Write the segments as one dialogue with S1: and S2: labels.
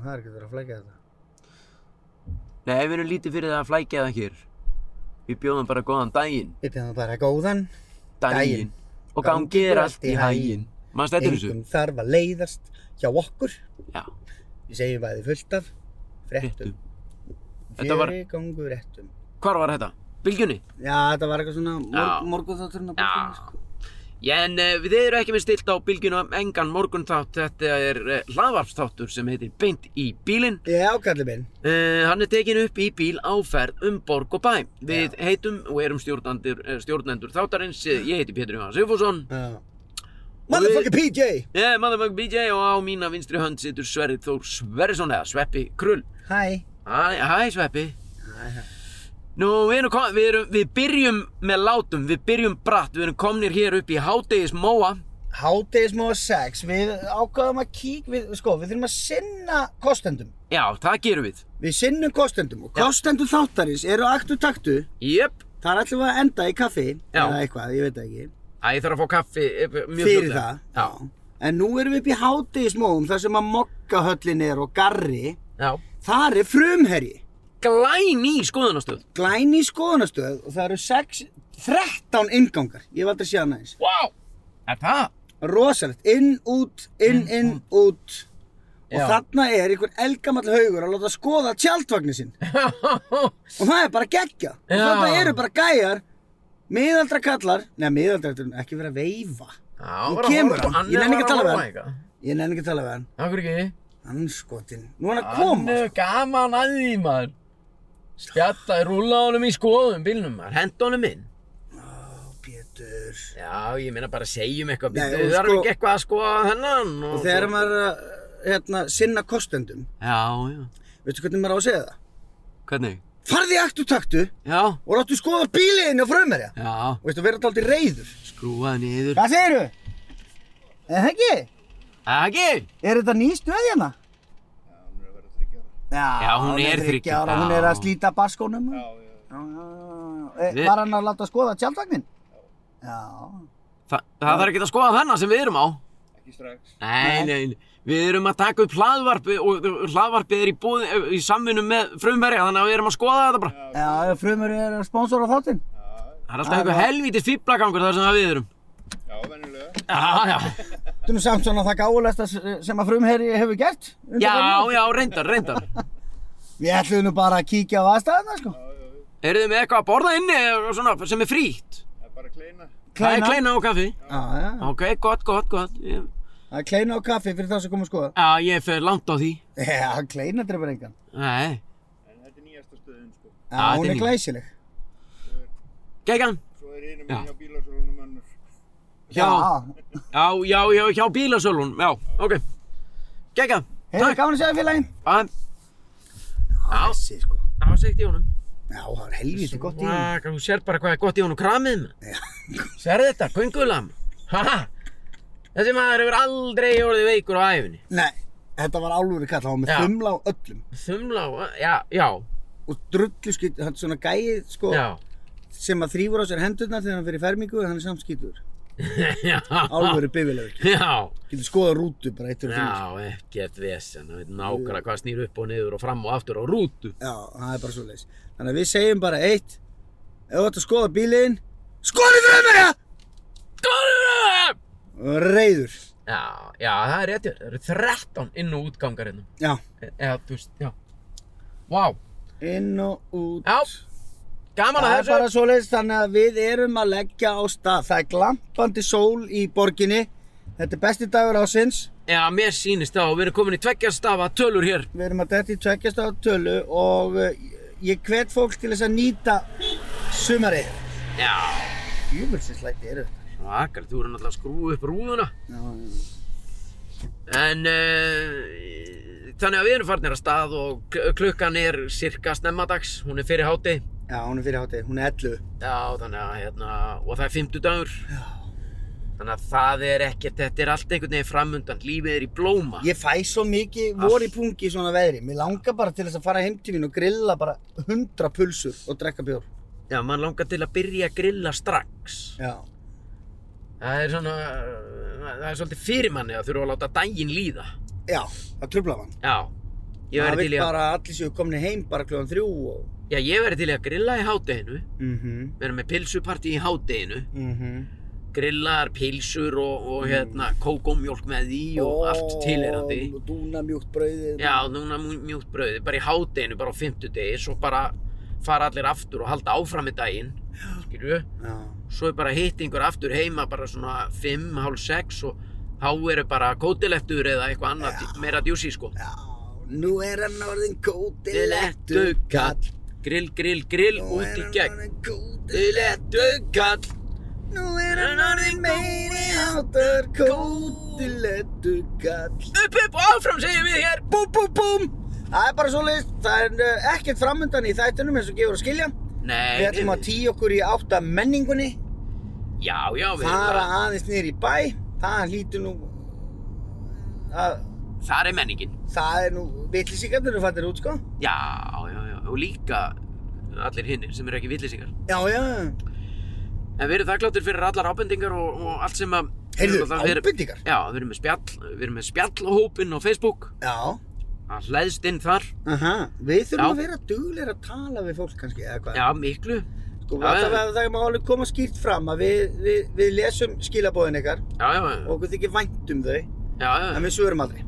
S1: það er ekki verið að flækja þetta
S2: Nei, við erum lítið fyrir það að flækja það hér. Við bjóðum bara góðan daginn.
S1: Vitið það bara góðan
S2: Daginn.
S1: Daginn.
S2: Og gangi er allt í hæginn. Manst þetta þessu?
S1: engum þarf að leiðast hjá okkur
S2: Já.
S1: við segjum bæði fullt af fréttum
S2: Þetta var,
S1: Fjöri gangur réttum
S2: hvar var þetta? Bylgjunni?
S1: já þetta var eitthvað svona
S2: Já.
S1: mor morgunþátturinn á
S2: Já.
S1: bókinni sko.
S2: En uh, við eru ekki með stilt á bylgjuna um engan morgunþátt. Þetta er uh, hlaðvarpstáttur sem heitir Beint í bílinn.
S1: já kallið minn
S2: Uh, hann er tekin upp í bíl áferð um borg og bæ. Við heitum og erum stjórnendur, eh, stjórnendur þáttarins. Eh, Ég heiti Pétur Jóhann Sigfússon.
S1: Já. motherfucker PJ
S2: Ég er Motherfuck BJ og á mína vinstri hönd situr Sverrið Þór Sverrisson eða Sveppi Krull.
S1: hæ
S2: Hæ, hæ Sveppi.
S1: Hæ, hæ.
S2: Nú, við, erum, kom- við, erum, við byrjum með látum, við byrjum bratt, við erum komnir hér upp í Hádeis Móa.
S1: hádegismóa 6 við ákvaðum að kík við, sko, við þurfum að sinna kostendum
S2: Já, það gerum við.
S1: við sinnum kostendum og kostendur þáttarins eru á aktu taktu
S2: Jöp.
S1: þar ætlum við að enda í kaffi
S2: Já.
S1: eða eitthvað, ég veit það ekki
S2: Æ, ég þarf að fá kaffi eh, mjög
S1: fyrir
S2: fljótlega.
S1: það, en nú erum við upp í hádegismóum þar sem að mokkahöllin er og garri
S2: Já.
S1: þar er frumherji
S2: Glæn í skoðunastöð.
S1: glæni skoðunastöð og það eru 6 13 ingangar, ég hef aldrei séð hana eins
S2: Wow. Er það?
S1: rosalegt, inn, út, inn, inn, út og
S2: Já.
S1: þarna er einhver elgamall haugur að láta skoða tjaldvagnir sinn og það er bara geggja og
S2: Já.
S1: þarna eru bara gæjar miðaldra kallar, neða miðaldra þetta er ekki verið að veifa
S2: Já,
S1: Nú
S2: bara
S1: kemur
S2: horfa-
S1: hann. Ég nenni ekki að tala við
S2: var horfa
S1: hann.
S2: eitthvað.
S1: ég nefn ekki að tala við hann,
S2: Af hverju ekki?
S1: hann skotin nú er hann að koma,
S2: er gaman að því, maður. Spjalla, rúla honum í skoðum bílnum, maður. Henda honum inn.
S1: sko. Pétur
S2: Já, ég meina bara segjum eitthvað.
S1: Nei,
S2: Nei,
S1: og
S2: það er
S1: sko-
S2: ekki eitthvað að skoða hennan. Og,
S1: og þegar maður er að, hérna, sinna kostendum
S2: Já, já.
S1: veistu hvernig maður á að segja það?
S2: Hvernig?
S1: farði í aktu taktu
S2: Já,
S1: og láttu skoða bíliðinni á frumherja
S2: já.
S1: og veistu, verður þetta aldrei reyður
S2: Skrúaði niður.
S1: hvað segirðu? eða ekki?
S2: Ekki?
S1: Er þetta ný stöð hérna?
S2: Já,
S1: Já,
S2: hún
S1: hún er að
S2: er
S1: vera
S2: 30
S1: þryggja ára. Hún er
S2: já.
S1: að slíta baskónum. Já, já, já. E,
S2: Við-
S1: Var hann að láta skoða tjaldvagnin? Já.
S2: Þa, það þarf ekki að skoða hennan sem við erum á.
S3: Ekki strax.
S2: Nei, nei, nei. Við erum að taka upp hlaðvarpi og og hlaðvarpið er í, búð, eh, í samvinnu með frumverja þannig að við erum að skoða þetta bara.
S1: Já, já frumur er að sponsora þáttinn.
S2: Það er alltaf einhver helvítið fýblagangur þar sem það við erum.
S3: Já, venjulega.
S2: Já, já.
S1: Þú nú samt svona það gáðulegsta sem að frumherri hefur gert.
S2: Já, já, reyndar, reyndar.
S1: Við ætlum nú bara að kíkja á aðstæðina, sko.
S2: Eru þið með eitthvað að borða inni og svona, sem er frítt?
S3: Það er bara að kleina.
S2: Það er
S1: Kleina.
S2: kleina og kaffi.
S1: Já, já.
S2: Ok, gott, gott, gott. Ég-
S1: Það er kleina og kaffi fyrir þá sem kom að skoða.
S2: Já, ég fer langt á því.
S1: Já, kleina drefur engan.
S2: Nei.
S3: En þetta er nýjasta stöðin, sko.
S1: Já,
S2: Já,
S1: hún
S2: þetta er
S1: er
S2: ný.
S1: glæsileg.
S2: Gækan?
S3: Svo er einu
S2: Já.
S3: minn hjá bílasölunum önnur.
S2: Já. Já, já, já, hjá bílasölun. Já, ok. Gækan?
S1: Hefur gaman að segja félaginn?
S2: Já, Já.
S1: Þessi, sko.
S2: það var segt í honum.
S1: Já, það er helvítið gott í hún.
S2: Vaka, þú sér bara hvað er gott í honum kramið maður. Sér þetta, göngulam. Haha. Þessi maður hefur aldrei orðið veikur á æfinni.
S1: Nei, þetta var álfur kall, hann var með
S2: Já.
S1: þumla á öllum
S2: Þumla á, já, já,
S1: og drullu skýt, hann er svona gæið sko,
S2: já.
S1: sem að þrýfur á sér hendurnar þegar hann fyrir fermingu hann er samt skítur,
S2: já.
S1: álfur er bifilegur
S2: Já.
S1: getur skoða rútu bara eitt og sko. fyrir
S2: Já, ekkert vesen, það veit nákvæmlega hvað snýr upp og niður og fram og aftur á rútu.
S1: Já, það er bara svo leis Þannig að við segjum bara eitt ef þú ætti að skoða bílinn skoði frumherja!
S2: Góður!
S1: og reyður
S2: Já, já, það er rétt hjá, þér. það eru 13 inn og útgangar hérna.
S1: Já,
S2: E- Eða, þú veist, já. Vá,
S1: inn og út
S2: já, gaman að
S1: Það er
S2: þessu.
S1: bara svo leiðis þannig að við erum að leggja á stað. Það er glampandi sól í borginni. Þetta er besti dagur ásins.
S2: Já, mér sýnist þá, við erum komin í tveggjastafa tölur hér.
S1: Við erum að detta í tveggjast á tölu og eh, ég hvet fólk til þess að nýta sumarið.
S2: Já,
S1: Júbilsinslæti eru þetta.
S2: svakar, þú eru náttúrulega að skrúa upp rúðuna.
S1: Já, já.
S2: En, uh, þannig að við erum farnir að stað og kl- klukkan er cirka stemmadags, hún er fyrir háti.
S1: já, hún er fyrir hátegi, hún er 11.
S2: Já, þannig að hérna, og það er 50 dagur. Já. Þannig að það er ekkert, þetta er allt einhvern veginn framundan, lífið er í blóma.
S1: Ég fæ svo mikið vor í pungi í svona veðri. Mér langar bara til þess að fara heim til mín og grilla bara 100 pulsur og drekka bjór.
S2: Já, mann langar til að byrja að grilla strax.
S1: Já.
S2: Það er svona, uh, það er svolítið fyrir manni að þurfa að láta daginn líða.
S1: Já, það trublar mann.
S2: Já, Ég
S1: Það
S2: væri
S1: vil
S2: til í að,
S1: bara að allir séu komni heim bara kljóðan þrjú og...
S2: já, ég væri til í að grilla í hádeginu.
S1: Mhm,
S2: Við erum með pilsupartí í hádeginu.
S1: mhm.
S2: Grillar, pilsur og, og
S1: Mm.
S2: hérna, kókómjólk með því og allt tilherandi.
S1: Og dúna mjúkt brauðið.
S2: Já, núna mjú- mjúkt brauði, bara í hádeginu, bara á fimmtudegi, svo bara fara allir aftur og halda áfram í daginn, skilju.
S1: Já.
S2: Svo er bara hitt einhver aftur heima, bara svona fimm, hálf sex og þá eru bara kótileftur eða eitthvað annað dj- meira djúsi, sko.
S1: Já, nú er hann orðin kótilettu kall.
S2: Grill, grill, grill, út í gegn. Kótilettu kall,
S1: Nú er hann orðin meiri hátar kótilettu kall.
S2: upp, upp og áfram segjum við hér.
S1: Búm, búm, búm. Það er bara svo list, það er uh, ekkert framundan í þættunum eins og gefur að skilja.
S2: Nei,
S1: Við ætlum að tíu okkur í átta menningunni,
S2: já, já, við erum
S1: fara
S2: bara,
S1: aðeins niður í bæ, það hlýtur nú að
S2: þar er menningin.
S1: það er nú vitlisíkarnir eru fattir út sko.
S2: Já, já, já, og líka allir hinnir sem eru ekki villisingar.
S1: Já, já,
S2: En við erum þakkláttir fyrir allar ábendingar og, og allt sem að...
S1: heyrðu,
S2: við erum náttúrulega- við
S1: ábendingar.
S2: erum- Já, við erum með spjall, við erum með spjallhópinn á Facebook.
S1: Já,
S2: Það hlæðst inn þar.
S1: aha, við þurfum
S2: Já.
S1: að vera duglegir að tala við fólk kannski, eða hvað.
S2: Já, miklu.
S1: Sko,
S2: Já, já.
S1: alltaf að það má alveg koma skýrt fram að við, við, við lesum skilabóðin ykkar
S2: Já, já, já.
S1: og okkur þykir vænt um þau,
S2: já, já.
S1: en við svörum aldrei.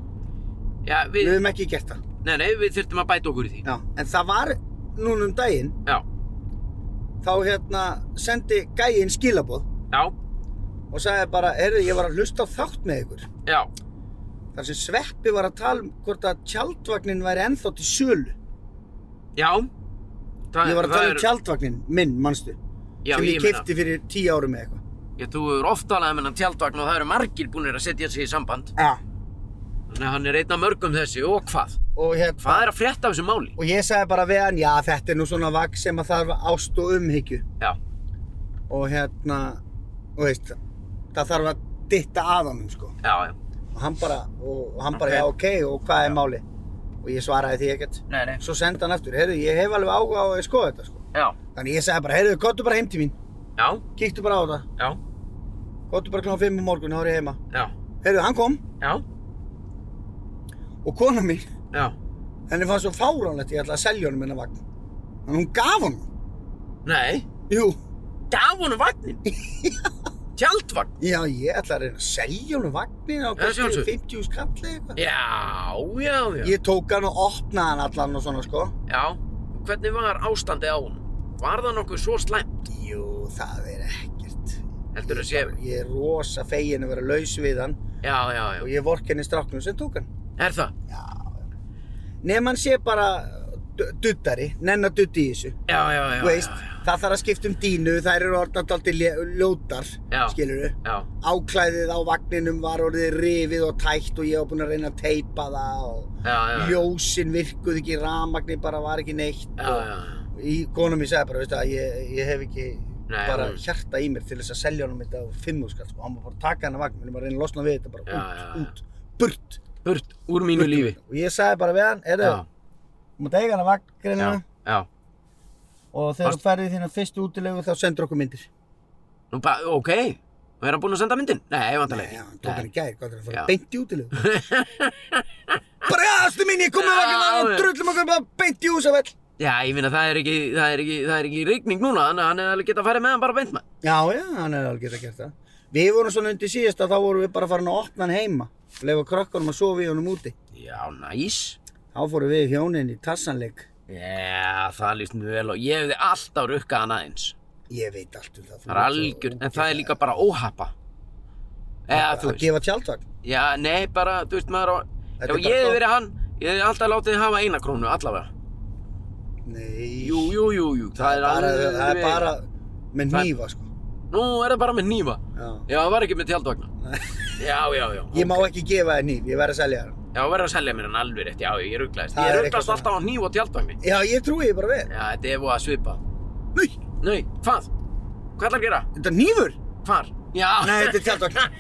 S2: já
S1: Við
S2: við,
S1: höfum ekki gert það.
S2: nei, nei, við þurftum að bæta okkur í því.
S1: Já, en það var núna um daginn,
S2: Já,
S1: þá hérna sendi gæinn skilabóð
S2: já,
S1: og sagði bara, heyrðu, ég var að hlusta á þátt með ykkur.
S2: já.
S1: Þar sem Sveppi var að tala um hvort að tjaldvagnin væri ennþá til sölu.
S2: Já. Það,
S1: Ég var að
S2: það
S1: tala um
S2: er-
S1: tjaldvagnin minn, mannstu,
S2: Já,
S1: sem ég,
S2: ég
S1: ég
S2: meina,
S1: kefti fyrir tíu árum eða eitthvað.
S2: ég, þú eru oft talað með hann tjaldvagn og það eru margir búinir að setja sig í samband.
S1: Já.
S2: Þannig að hann er einn af mörgum þessi og hvað?
S1: Og hérna,
S2: Hvað er að frétta af þessu máli?
S1: og ég sagði bara við hann, já, þetta er nú svona vagn sem að þarf ást og umhyggju.
S2: Já,
S1: Og hérna, og veist, það þarf að ditta að honum, sko.
S2: já, já.
S1: Og hann bara, og, og hann bara,
S2: Ok.
S1: já, ok, og hvað er máli? Og ég svaraði því ekkert.
S2: Nei, nei.
S1: Svo sendi hann aftur, heyrðu, ég hef alveg áhuga á að skoða þetta, sko.
S2: Já,
S1: Þannig ég sagði bara, heyrðu, kottu bara heim til mín,
S2: já,
S1: kíktu bara á þetta,
S2: já,
S1: kottu bara kláðan 5 um morgun, þá er ég heima.
S2: já,
S1: Heyrðu, hann kom,
S2: já,
S1: og kona mín,
S2: já.
S1: henni fannst svo fáránlegt, ég ætla að selja honum hennar vagn. En hún gaf honum.
S2: Nei.
S1: Jú,
S2: gaf honum vagnin tjaldvagn
S1: já, ég ætla að reyna að selja honum vagnin á
S2: Já, sjálfsögðu.
S1: 50 skalli eitthvað.
S2: já, já, já,
S1: Ég tók hann og opnaði hann allan og svona sko.
S2: já hvernig var ástandið á honum? var það nokkuð svo slæmt?
S1: Jú, það er ekkert.
S2: heldur að sé,
S1: Ég er rosa fegin að vera laus við hann
S2: já, já,
S1: og
S2: já
S1: ég vork henni stráknum sem tók hann.
S2: er það?
S1: Já, nefn hann sé bara d- duddari, nenn að duddi í þessu.
S2: já, já, já,
S1: Þú veist,
S2: já,
S1: það þarf að skipta um dínu, þær eru orðnand aldrei ljótar,
S2: Já.
S1: skilur við.
S2: já,
S1: Áklæðið á vagninum var orðið rifið og tætt og ég var búinn að reyna að teipa það og
S2: já, já, já,
S1: ljósin virkuð ekki, rafmagni bara var ekki neitt
S2: já, já,
S1: og í konum ég sagði bara, veistu að ég, ég hef ekki
S2: Nei,
S1: bara
S2: hún-
S1: hjarta í mér til þess að selja honum þetta á fimmu skall og hann var bara að taka hann að vagn, hann var að reyna að losna við þetta bara
S2: Já, já, já.
S1: út, út, burt
S2: burt úr mínu lífi
S1: og ég sagði bara við hann, er
S2: já,
S1: það, þú mátt eiga hann að vagn
S2: já,
S1: greinina
S2: já
S1: og þegar
S2: Varst-
S1: þú ferði þína fyrstu útilegu þá sendur okkur myndir
S2: Nú, ba, ok, og er hann búinn að senda myndin? nei,
S1: Nei,
S2: vantarlega
S1: já, hann tók hann í gær, hvað er að
S2: Já.
S1: fara beint í útilegu bara, ja, astu mín, ég kom með vagn
S2: Já,
S1: og
S2: já.
S1: drullum okkur bara beint í húsafell
S2: já, ég minna, það er ekki, það er ekki, það er ekki rigning núna, þannig að hann hefði alveg getað að fara með hann bara beint maður
S1: já, já, hann er alveg getað gert það við vorum svona undir síðasta, þá vorum við bara farin að opna hann heima og lefa krökkunum að sofa í honum úti
S2: já, næs
S1: Þá fórum við hjónin í tassanleik.
S2: Já, það líst mjög vel og ég hefði alltaf rukkað hann aðeins.
S1: Ég veit allt um það.
S2: Það er algjör, en það er líka bara óhappa. Eða, þú
S1: Að
S2: veist,
S1: gefa tjaldvagn.
S2: já, nei, bara, þú veist, maður á...
S1: Þetta
S2: Ef
S1: er bara
S2: ég hefði
S1: gott.
S2: verið hann, ég hefði alltaf látið þið hafa eina krónu, allavega.
S1: Nei.
S2: Jú, jú, jú, jú, það er
S1: bara,
S2: alveg...
S1: það er bara með
S2: Það-
S1: nýfa, sko.
S2: Nú, er það bara með nýfa.
S1: Já.
S2: Já, það var ekki með tjaldvagna. Já, já, já.
S1: Ég má ekki gefa þér nýf, ég verð að selja þér. hann.
S2: Já, verður að selja mér hann alveg rétt, já, ég rugglaðist.
S1: Það
S2: Ég
S1: er
S2: rugglaðist
S1: eitthvað
S2: alltaf á nýf og tjaldvagni.
S1: Já, ég trúi því bara við.
S2: Já, þetta er voða svipað.
S1: Nei,
S2: Nei, hvað? Hvað ætlar að gera?
S1: þetta er nýfur?
S2: Hvar? Já.
S1: Nei, þetta er tjaldvagn.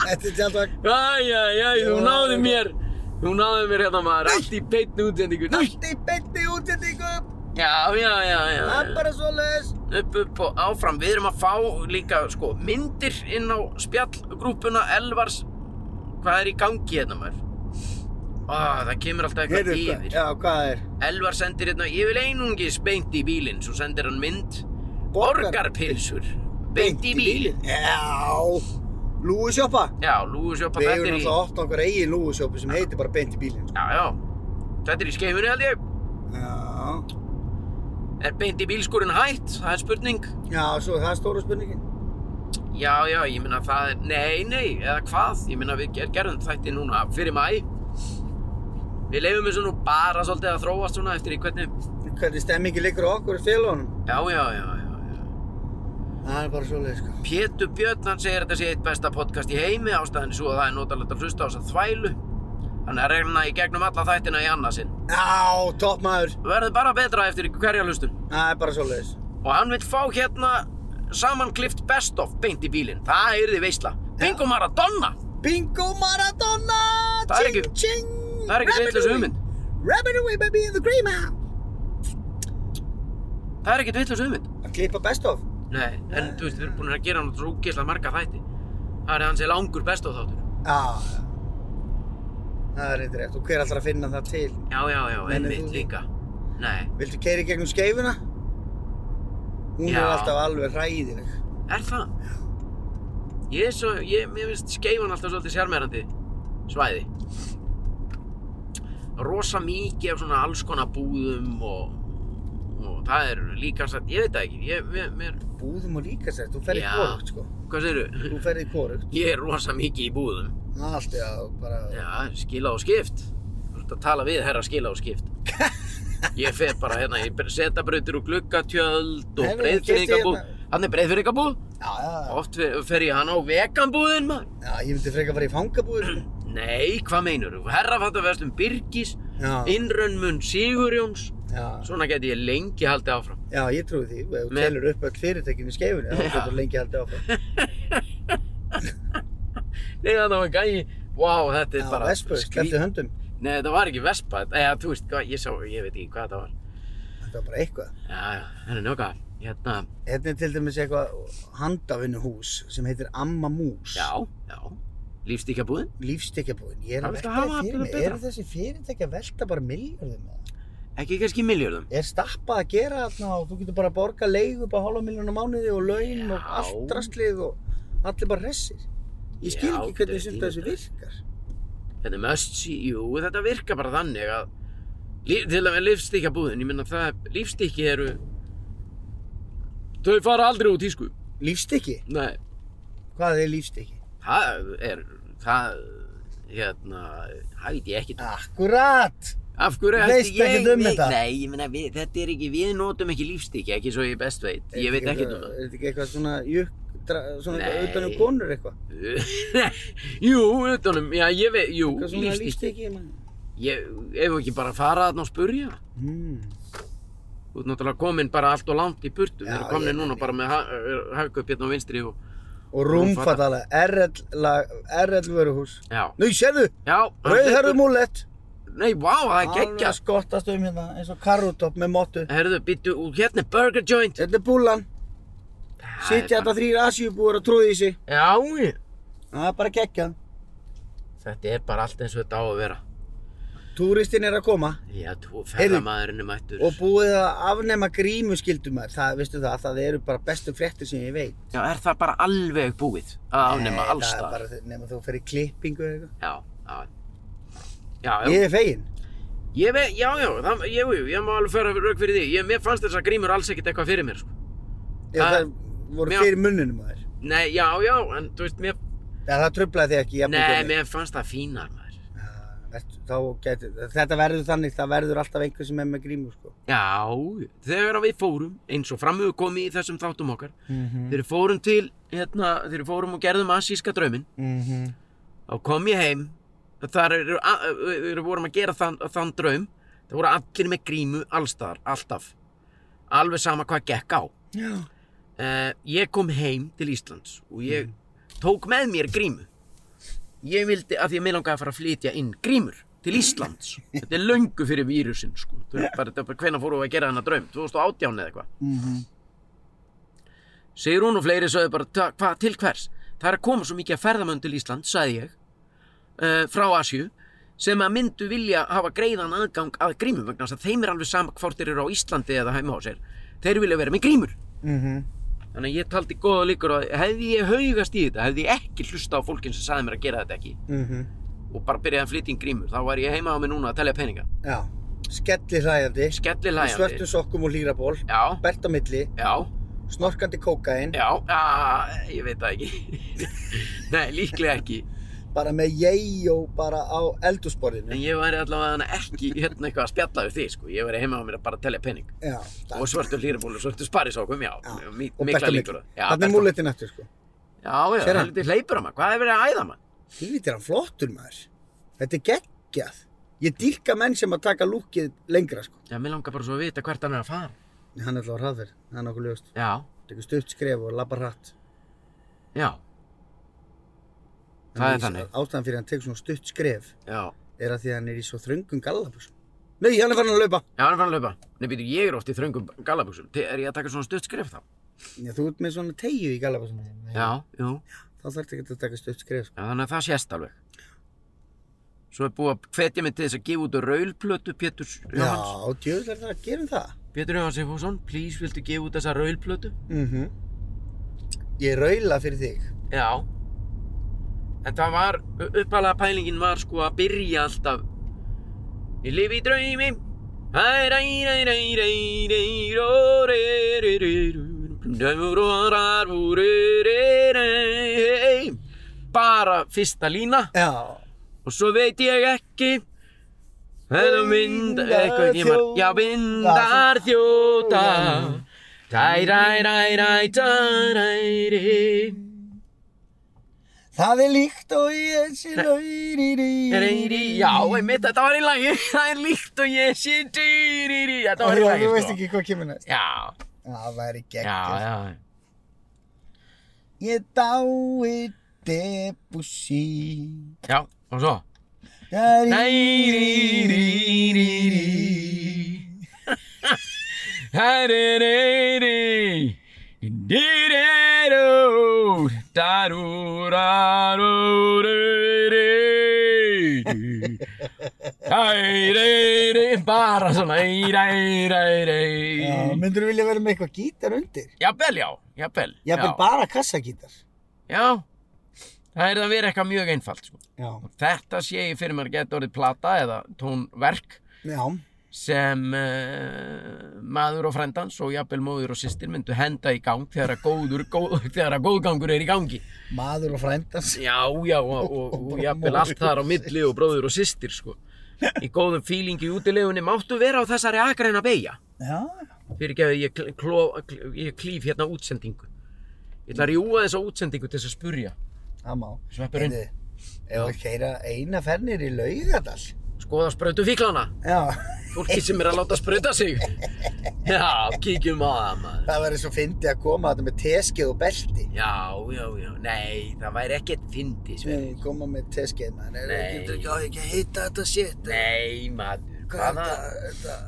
S1: þetta er tjaldvagn.
S2: Æjæjæj, þú
S1: Já.
S2: náði mér Þú náði mér hérna maður,
S1: Nei.
S2: allt í beinni útsendingu Já,
S1: Allt í beinni útsendingu.
S2: já, já, já
S1: Það er bara svo
S2: Upp, upp og áfram, við erum að fá líka sko myndir inn á spjallgrúpuna Elvars Hvað er í gangi hérna maður? Á, það kemur alltaf eitthvað
S1: Heyrðu,
S2: yfir.
S1: hvað- Já, hvað það er?
S2: Elvar sendir hérna, ég vil einungis beint í bílinn, svo sendir hann mynd Borgarpilsur, beint í bílinn
S1: Já, lúusjópa.
S2: Já, lúgusjópa,
S1: Við hefur
S2: þetta er í
S1: náttúrulega átt okkar eigin lúgusjópa sem heitir bara beint í bílinn. sko.
S2: Já, já, þetta er í skeifunni held ég
S1: Já,
S2: Er beint í bílskurinn hætt, það er spurning
S1: já, svo það er stóra spurningin.
S2: Já, já, ég meina það er, nei, nei, eða hvað Ég meina við ger, gerðum þætti núna fyrir mæ Við leifum þessu nú bara svolítið að þróast svona eftir í hvernig
S1: Hvernig stemmingi liggur á okkur í félagunum?
S2: Já, já, já, já, já
S1: Það er bara svoleið, sko.
S2: Pétur Björn, hann segir að þetta sé eitt besta podcast í heimi, ástæðan er svo að það er notalegt að hlusta á þess að þvælu. Hann er reyna í gegnum alla þættina í annarsinn.
S1: Já, topp maður.
S2: Verður bara betra eftir hverja hlustun.
S1: Það er bara svoleiðis.
S2: Og hann vil fá hérna samanklift best of beint í bílinn. Það er þið veisla. Bingo Maradona!
S1: Bingo Maradona!
S2: Það er ekki-
S1: ching, ching,
S2: það er ekki
S1: rabbit
S2: vitlaus
S1: away.
S2: hugmynd.
S1: Rabbit away baby in the green man.
S2: Það er ekkert vitlaus hugmynd.
S1: Að klippa best of.
S2: Nei, en þú veist, við erum búin að gera hann svo úgeðslega marga þætti. Það er hans er langur best of þáttur.
S1: Já, já. það er eitthvað rétt. Og hver allra að finna það til?
S2: Já, já, já,
S1: Nei, nei,
S2: einmitt
S1: þú-
S2: líka. Nei,
S1: Viltu keiri gegnum skeifuna? Hún
S2: Já.
S1: er alltaf alveg hræðileg.
S2: er það? Ég er svo, ég, mér finnst skeifan alltaf svolítið sjarmerandi svæði. rosa mikið af svona alls konar búðum og, og það er líka satt, ég veit það ekki, ég, mér, mér
S1: Búðum og líka sér, þú ferð í
S2: Já.
S1: korugt sko.
S2: hvað segirðu?
S1: Þú ferð í korugt.
S2: Ég er rosa mikið í búðum.
S1: Allt, já, bara...
S2: Já, skila og skipt. Þú ert að tala við herra skila og skipt. Ég fer bara hérna, ég seta brautir og gluggatjöld
S1: Nei,
S2: og
S1: nei,
S2: breyðfyrringabúð.
S1: keypti
S2: Hann er breyðfyrringabúð.
S1: Já, já,
S2: Oft fer- fer ég hann á veganbúðin maður.
S1: já, ég myndi freka bara í fangabúður. sko.
S2: Nei, hvað meinar þú? Herrafattaverslum Birgis,
S1: Já.
S2: Innrönnmun Sigurjóns.
S1: Já,
S2: Svona geti ég lengi haldið áfram.
S1: já, ég trúi því. Ef þú
S2: Með-
S1: telur upp öll fyrirtekin í skeifunni, þá
S2: Já.
S1: getur þú lengi haldið áfram.
S2: Nei, það var gæi. Vá, þetta er
S1: Já,
S2: bara...
S1: vespu,
S2: skrý-
S1: sleppti höndum.
S2: Nei, þetta var ekki vespa. þetta- Eða, þú veist, hvað, ég sá, ég veit ekki hvað þetta var.
S1: Þetta var bara eitthvað.
S2: Já, já, það er njóka. Hérna,
S1: Hérna er til dæmis eitthvað handavinnuhús sem heitir Amma Mús.
S2: já, já. Lífstíkabúðin?
S1: Lífstekjabúðin. Ég er
S2: Hvað
S1: að
S2: viltu
S1: velta
S2: hafa
S1: því fyrir
S2: það
S1: mig.
S2: betra?
S1: Eru þessi fyrirtæki að velta bara miljardum með það?
S2: Ekki kannski miljörðum.
S1: Er stappað að gera þarna og þú getur bara að borga leigu upp á hálfa miljónu á mánuði og laun og
S2: Já.
S1: allt drastlið og allir bara hressir. Ég skil
S2: Já,
S1: ekki
S2: þetta er
S1: hvernig sem
S2: dýrt,
S1: þessi
S2: þetta er.
S1: virkar.
S2: Þetta er must see, jú, þetta virkar bara þannig að lí- til að vera lífstíkabúðin, ég minna það, lífstíki eru, þau fara aldrei út í sko.
S1: Lífstykki?
S2: Nei,
S1: Hvað er lífstykki?
S2: það er, það, hérna, það veit ég ekki.
S1: Akkurat!
S2: Af hverju
S1: Þú veist
S2: ætti ég,
S1: ekkert um
S2: veit-
S1: þetta.
S2: nei, ég meina, við, þetta er ekki, við notum ekki lífstíki, ekki svo ég best veit, ég veit ekki um það.
S1: Er þetta ekki eitthvað svona jukk, dra, svona eitthvað
S2: Nei.
S1: utan um konur eitthvað?
S2: jú, utanum, já, ég veit, jú,
S1: Eitthvað svona
S2: lífstíki.
S1: lífstykki? ég meina.
S2: Ég, ef við ekki bara fara þarna og spurja,
S1: Hmm.
S2: þú ert náttúrulega komin bara allt og langt í burtu,
S1: Já,
S2: þeir eru komin
S1: ég-
S2: núna bara með haugup hérna á vinstri og,
S1: Og rúmfattalega, RL, lag- RL vöruhús.
S2: já,
S1: Nú, sérðu,
S2: já, hann
S1: rauðherðu
S2: hleypur-
S1: múlett.
S2: nei, vá, það er
S1: Alveg að
S2: geggjast,
S1: skottast um hérna, eins og karútopp með mottu.
S2: herðu, býttu, og hérna er Burger Joint,
S1: Þetta er búlan.
S2: Það
S1: Sitja
S2: er
S1: hérna.
S2: bara-
S1: þetta þrýr asjúbúar og trúði í sig.
S2: já, ég-
S1: Það er bara geggjað.
S2: þetta er bara allt eins og þetta á að vera,
S1: Túristinn er að koma
S2: já,
S1: Heyrðu,
S2: þú, ferðamaðurinn er mættur,
S1: og búið að afnema grímuskildum þær. Það, veistu það, það eru bara bestu fréttir sem ég veit.
S2: já, er það bara alveg búið að afnema
S1: Nei, það
S2: alls
S1: er
S2: það,
S1: bara- Nema þú fyrir klippingu eða eitthvað.
S2: já, já, já, já,
S1: Ég er fegin.
S2: Ég veit, já, já, það, ég, ég, ég má alveg fara rauk fyrir því. Ég, mér fannst þessar grímur alls ekkert eitthvað fyrir mér, sko.
S1: Já,
S2: Það-
S1: það voru
S2: mér-
S1: fyrir munninum að þér.
S2: Nei, já, já, en þú veist, mér,
S1: Já, það tröflaði þig ekki. jafn
S2: nei,
S1: mikið.
S2: mér fannst það fínar, maður.
S1: Já, veistu, Þá geti, þetta verður þannig, það verður alltaf einhver sem er með grímu, sko.
S2: Já, þegar við fórum, eins og framöðu komi í þessum þáttum okkar,
S1: Mm -hmm.
S2: þegar við fórum til, hérna, þegar við fórum og gerðum asíska drauminn,
S1: Mm -hmm.
S2: þá kom ég heim, þar eru, a- við við vorum að gera þann, þann draum, það voru allir með grímu allstaðar, alltaf. Alveg sama hvað gekk á.
S1: Já.
S2: Uh, ég kom heim til Íslands og ég tók með mér grímu. Ég vildi, af því að mér langaði að fara að flytja inn grímur til Íslands. Þetta er löngu fyrir vírusin, sko. Þú veist bara, þetta er bara hvenær fórum við að gera þennan draum, 2018 eða eitthvað.
S1: Mm -hmm.
S2: Sigrún og fleiri sögðu bara, "Ta- hvað, til hvers? Það er að koma svo mikið að ferðamönn til Íslands, sagði ég, uh, eh, frá Asju. sem að myndu vilja hafa greiðan aðgang að grímum vegna þess að þeim er alveg sama hvort þeir eru á Íslandi eða heima á sér þeir vilja vera með grímur
S1: Mhm,
S2: þannig að ég taldi góða líkur og hefði ég haugast í þetta hefði ég ekki hlusta á fólkin sem saði mér að gera þetta ekki
S1: mhm.
S2: og bara byrjaði að flytja inn grímur þá var ég heima á mig núna að telja peninga
S1: Já, skelli hlæjandi
S2: skelli
S1: Svörtum
S2: hlæjandi
S1: sokkum og hlýraból
S2: já,
S1: Bert á milli,
S2: já,
S1: snorkandi kókain
S2: já, að, ég veit það ekki nei, líklega ekki
S1: Bara með jeigjó bara á eldusborðinu
S2: en ég væri allavega ekki hérna eitthvað að spjalla við þig sko. ég væri heima á mér að bara telja pening
S1: Já,
S2: og svörtu hlýrabólu, svörtu sparisókum, já,
S1: Já,
S2: mi-
S1: og
S2: mikla
S1: Bert á
S2: líkur á
S1: milli
S2: það. Já,
S1: Þannig
S2: Bert á-
S1: múletin eftir sko
S2: já, já,
S1: Sér
S2: það
S1: hann?
S2: er litið hleypur að maður, hvað er verið að æða maður?
S1: Helviti er hann flottur maður Þetta er geggjað Ég dýrka menn sem að taka lúkið lengra sko
S2: Já, mér langar bara svo að vita hvert hann er að fara
S1: Hann er alltaf á hraðverð, það er nokkuð ljóst
S2: Já,
S1: Tekur stutt skref og labbar hratt
S2: já, Það er þannig.
S1: Ástæðan fyrir að hann tekur svona stutt skref
S2: já
S1: er að því að hann er í svo þröngum gallabúsum Nei, hann er farin að laupa
S2: Já, hann er fann að laupa Nei, býtu, ég er oft í þröngum gallabuxum Te- Er ég að taka svona stutt skrif þá?
S1: Já, þú ert með svona tegju í gallabúsum
S2: Já, jú, já,
S1: Þá þarf ekki að taka stutt skref sko.
S2: þannig að það sést alveg Svo er búið að hvetja mig til þess að gefa út raulplötu Pétur
S1: Já,
S2: Jóhanns
S1: djöðl er það að gera það
S2: Pétur Jóhanns Sifússon, please, viltu gefa út þessa raulplötu?
S1: mm
S2: Mhm.
S1: Ég raula fyrir þig
S2: Já En það var, uppalega pælingin var sko að byrja alltaf Ég lifi í draumi Æ, ræ, ræ, ræ, ræ, ræ, ró, ré, ré, ré, rú, döfur og rar, rú, ré, ré, ré, hey. Bara fyrsta lína
S1: Já,
S2: Og svo veit ég ekki Það mynd, eitthvað ég var Já, vindar þjóta Tæ, ræ, ræ, ræ, tæ, ræ, ræ
S1: það er líkt og ég sé
S2: Reyri,
S1: rauri
S2: já, einmitt, þetta var í lagi, það er líkt og ég sé dýrýrý, þetta var í lagi,
S1: Þú veist ekki hvað kemur næst
S2: Já,
S1: Já, það væri
S2: já,
S1: geggjast
S2: já,
S1: Ég dái Debussy
S2: já, og svo.
S1: Dæri
S2: Dæri, Hærireyri, dýrýrú, darúrarúrýrý, Hærireyri, bara svona, eiræreyri.
S1: Já, myndirðu vilja vera með eitthvað gítar undir?
S2: Jafnvel, já, jafnvel.
S1: Jafnvel
S2: já.
S1: bara kassagítar
S2: Já, það er að vera eitthvað mjög einfalt. Sko.
S1: Já,
S2: Þetta sé ég fyrir mér að geta orðið plata eða tónverk
S1: já,
S2: sem uh, maður og frendans og jafnvel móður og systir myndu henda í gang þegar að góður, góð, þegar að góðgangur er í gangi.
S1: maður og frændans
S2: Já, já, og, og, og jafnvel allt þar á milli og bróður og systir, sko. Í góðum fílingi í útilegunni máttu vera á þessari akreina beigja.
S1: Já,
S2: Fyrir ég, kl- kló- kl- ég klíf hérna útsendingu. Ég ætla að rjúa þessa útsendingu til þess að spurja.
S1: það má
S2: Sveppurinn.
S1: Heyrðu, Ef við keira eina fernir í Laugadal
S2: Skoða sprautu fíklana.
S1: Já,
S2: Fólki sem er að láta sprauta sig. Já, kíkjum á það maður.
S1: það verður svo fyndið að koma þetta með teskið og belti
S2: Já, já, já. Nei, það væri ekkert fyndi, Sverri.
S1: Nei, Koma með teskið maður Er
S2: Nei.
S1: ekki ekki á ekki að heita þetta shit eh.
S2: Nei, maður.
S1: Hvað
S2: Hvaða?
S1: er þetta- þetta?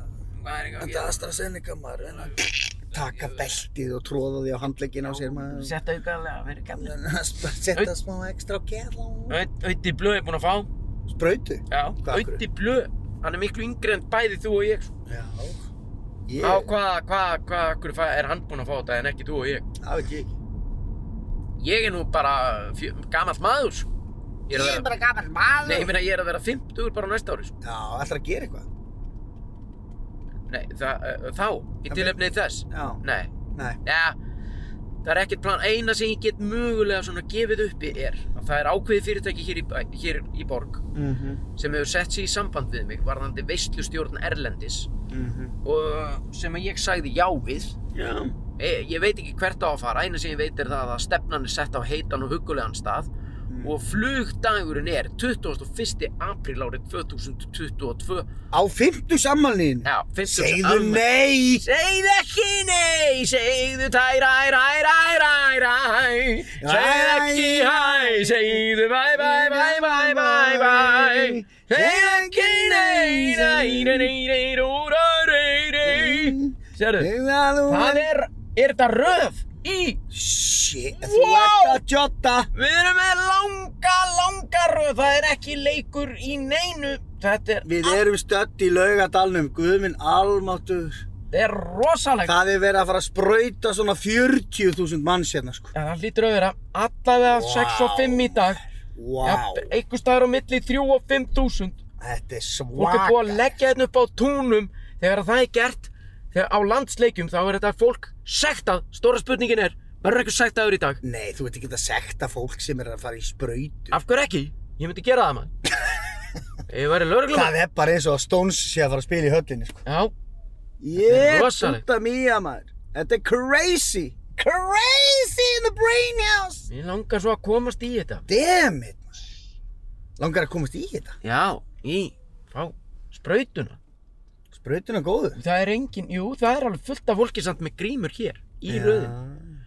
S2: Hvað er ekki að
S1: Þetta
S2: gera?
S1: AstraZeneca maður en að Taka beltið og tróða því á handleggin á sér maður
S2: Sett aukaðlega, verið gæmlega.
S1: Setta smá ekstra gæla
S2: Ötti blöð er búinn að fá.
S1: Sprautu
S2: Já,
S1: Hvað af hverju?
S2: Ötti blöð. Hann er miklu yngri en bæði þú og ég. sko.
S1: Já Ég,
S2: Á, hvað, hvað, hvað, hverju fæ- er hann búinn að fá þetta en ekki þú og ég?
S1: það veit ég ekki
S2: Ég er nú bara fjö- gamall maður, sko. Ég er að vera,
S1: gammal maður
S2: nei, ég meina, ég er að vera 50 bara á næsta ári, sko.
S1: Já, ætlar að gera eitthvað
S2: Nei, það, uh, þá, í
S1: Það
S2: tilöfnið þess
S1: Já,
S2: Nei,
S1: nei
S2: ja, það er ekkert plan Eina sem ég get mögulega svona gefið uppi er að Það er ákveðið fyrirtæki hér í, bæ- hér í borg
S1: mm -hmm.
S2: sem hefur sett sig í samband við mig varðandi veislustjórn Erlendis mhm. og eh, sem að ég sagði já við
S1: Já
S2: e, Ég veit ekki hvert á að fara Eina sem ég veit er það að stefnan er sett á heitan og huggulegan stað
S1: Mm.
S2: og flugdagurinn er 21. apríl árið 2022
S1: Á fymtu sammalnin
S2: Já, 50
S1: Segðu
S2: almennt-
S1: nei
S2: Segðu ekki nei, segðu tæ, ræ, ræ, ræ, ræ, ræ Segðu ekki hæ, segðu bæ, bæ, bæ, bæ, bæ, bæ Segðu ekki nei, ræ, ræ, ræ, ræ, rú, rá, ræ, ræ Sérðu,
S1: Segðu að þú
S2: það er, er þetta röð í
S1: Shit,
S2: Wow.
S1: þú ert að jotta
S2: Við erum með langa, langa strákar, það er ekki leikur í neinu. Þetta er,
S1: Við erum stödd í laugadalnum, guðminn almáttur.
S2: þetta er rosalegt.
S1: Það er verið að fara að sprauta svona 40.000 manns hérna, sko.
S2: Ja, það hlýtur að vera allavega 6 og 5 í dag.
S1: Vá,
S2: Jafn- Einhver staðar á milli 3 og 5 þúsund.
S1: þetta er
S2: Fólk er búið að
S1: svaka.
S2: leggja þetta upp á túnum þegar það er gert. Þegar á landsleikjum þá er þetta fólk sektað. Stóra spurningin er, verður ekki sektaður í dag?
S1: Nei, þú veit ekki að sekta fólk sem er að fara í sprautu.
S2: Af hverju ekki? Ég myndi gera það maður. Ég væri lögreglum.
S1: Það er bara eins og að Stones sé að fara að spila í höllinni, sko.
S2: Já,
S1: Ég,
S2: rosalegt.
S1: þetta mía, maður. Þetta er crazy. Crazy in the brain house.
S2: ég langar svo að komast í þetta.
S1: Damn it, maður. Langar að komast í þetta.
S2: Já, í, fá, sprautuna.
S1: Sprautuna góðu.
S2: Það er engin, jú, það er alveg fullt af fólki samt með grímur hér, í ja. röðin.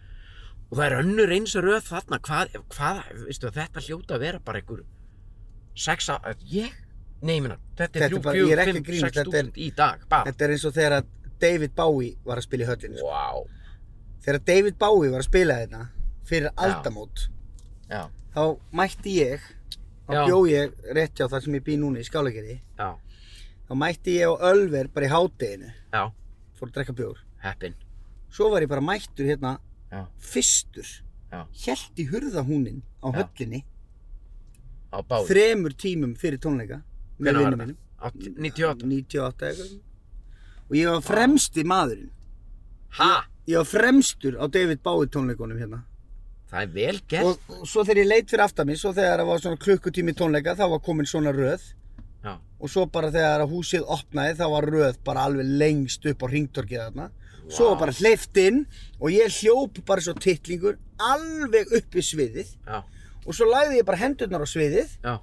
S2: Og það er önnur eins röð þarna, hvað, hvað, veistu, þetta hljóta að vera bara einhver sexa, að ég, nei, ég meina, þetta
S1: Þetta
S2: er
S1: er
S2: 3,
S1: bara- ég er
S2: 4,
S1: ekki að
S2: 5,
S1: grínast,
S2: 6
S1: þetta er-
S2: þúsund í dag, bara.
S1: Þetta er eins og þegar að David Bowie var að spila í höllinni, sko.
S2: Vá,
S1: Þegar David Bowie var að spila þetta fyrir aldamót,
S2: já,
S1: þá mætti ég, þá
S2: Já.
S1: bjó ég rétt hjá þar sem ég bý núna í Skálagerði,
S2: já,
S1: þá mætti ég á Ölver bara í hádeginu,
S2: já,
S1: fór að drekka bjór.
S2: heppin,
S1: Svo var ég bara mættur hérna
S2: já,
S1: fyrstur,
S2: Já.
S1: hélt í hurðahúnin á
S2: Já.
S1: höllinni,
S2: á báði.
S1: þremur tímum fyrir tónleika, með
S2: Hvenær var
S1: vinnum
S2: þetta?
S1: mínum.
S2: Átt- 98?
S1: 98 eitthvað. Og ég var fremsti maðurinn.
S2: Ha,
S1: Ég var fremstur á David Bowie tónleikunum hérna.
S2: það er vel gert.
S1: og, og svo þegar ég leit fyrir aftan mig, svo þegar það var svona klukkutími tónleika, þá var komin svona röð
S2: Já,
S1: og svo bara þegar að húsið opnaði, þá var röð bara alveg lengst upp á ringtorkið þarna svo var bara hleyft inn og ég hljóp bara svo tittlingur alveg upp í sviðið
S2: já,
S1: og svo lagði ég bara hendurnar á sviðið
S2: já,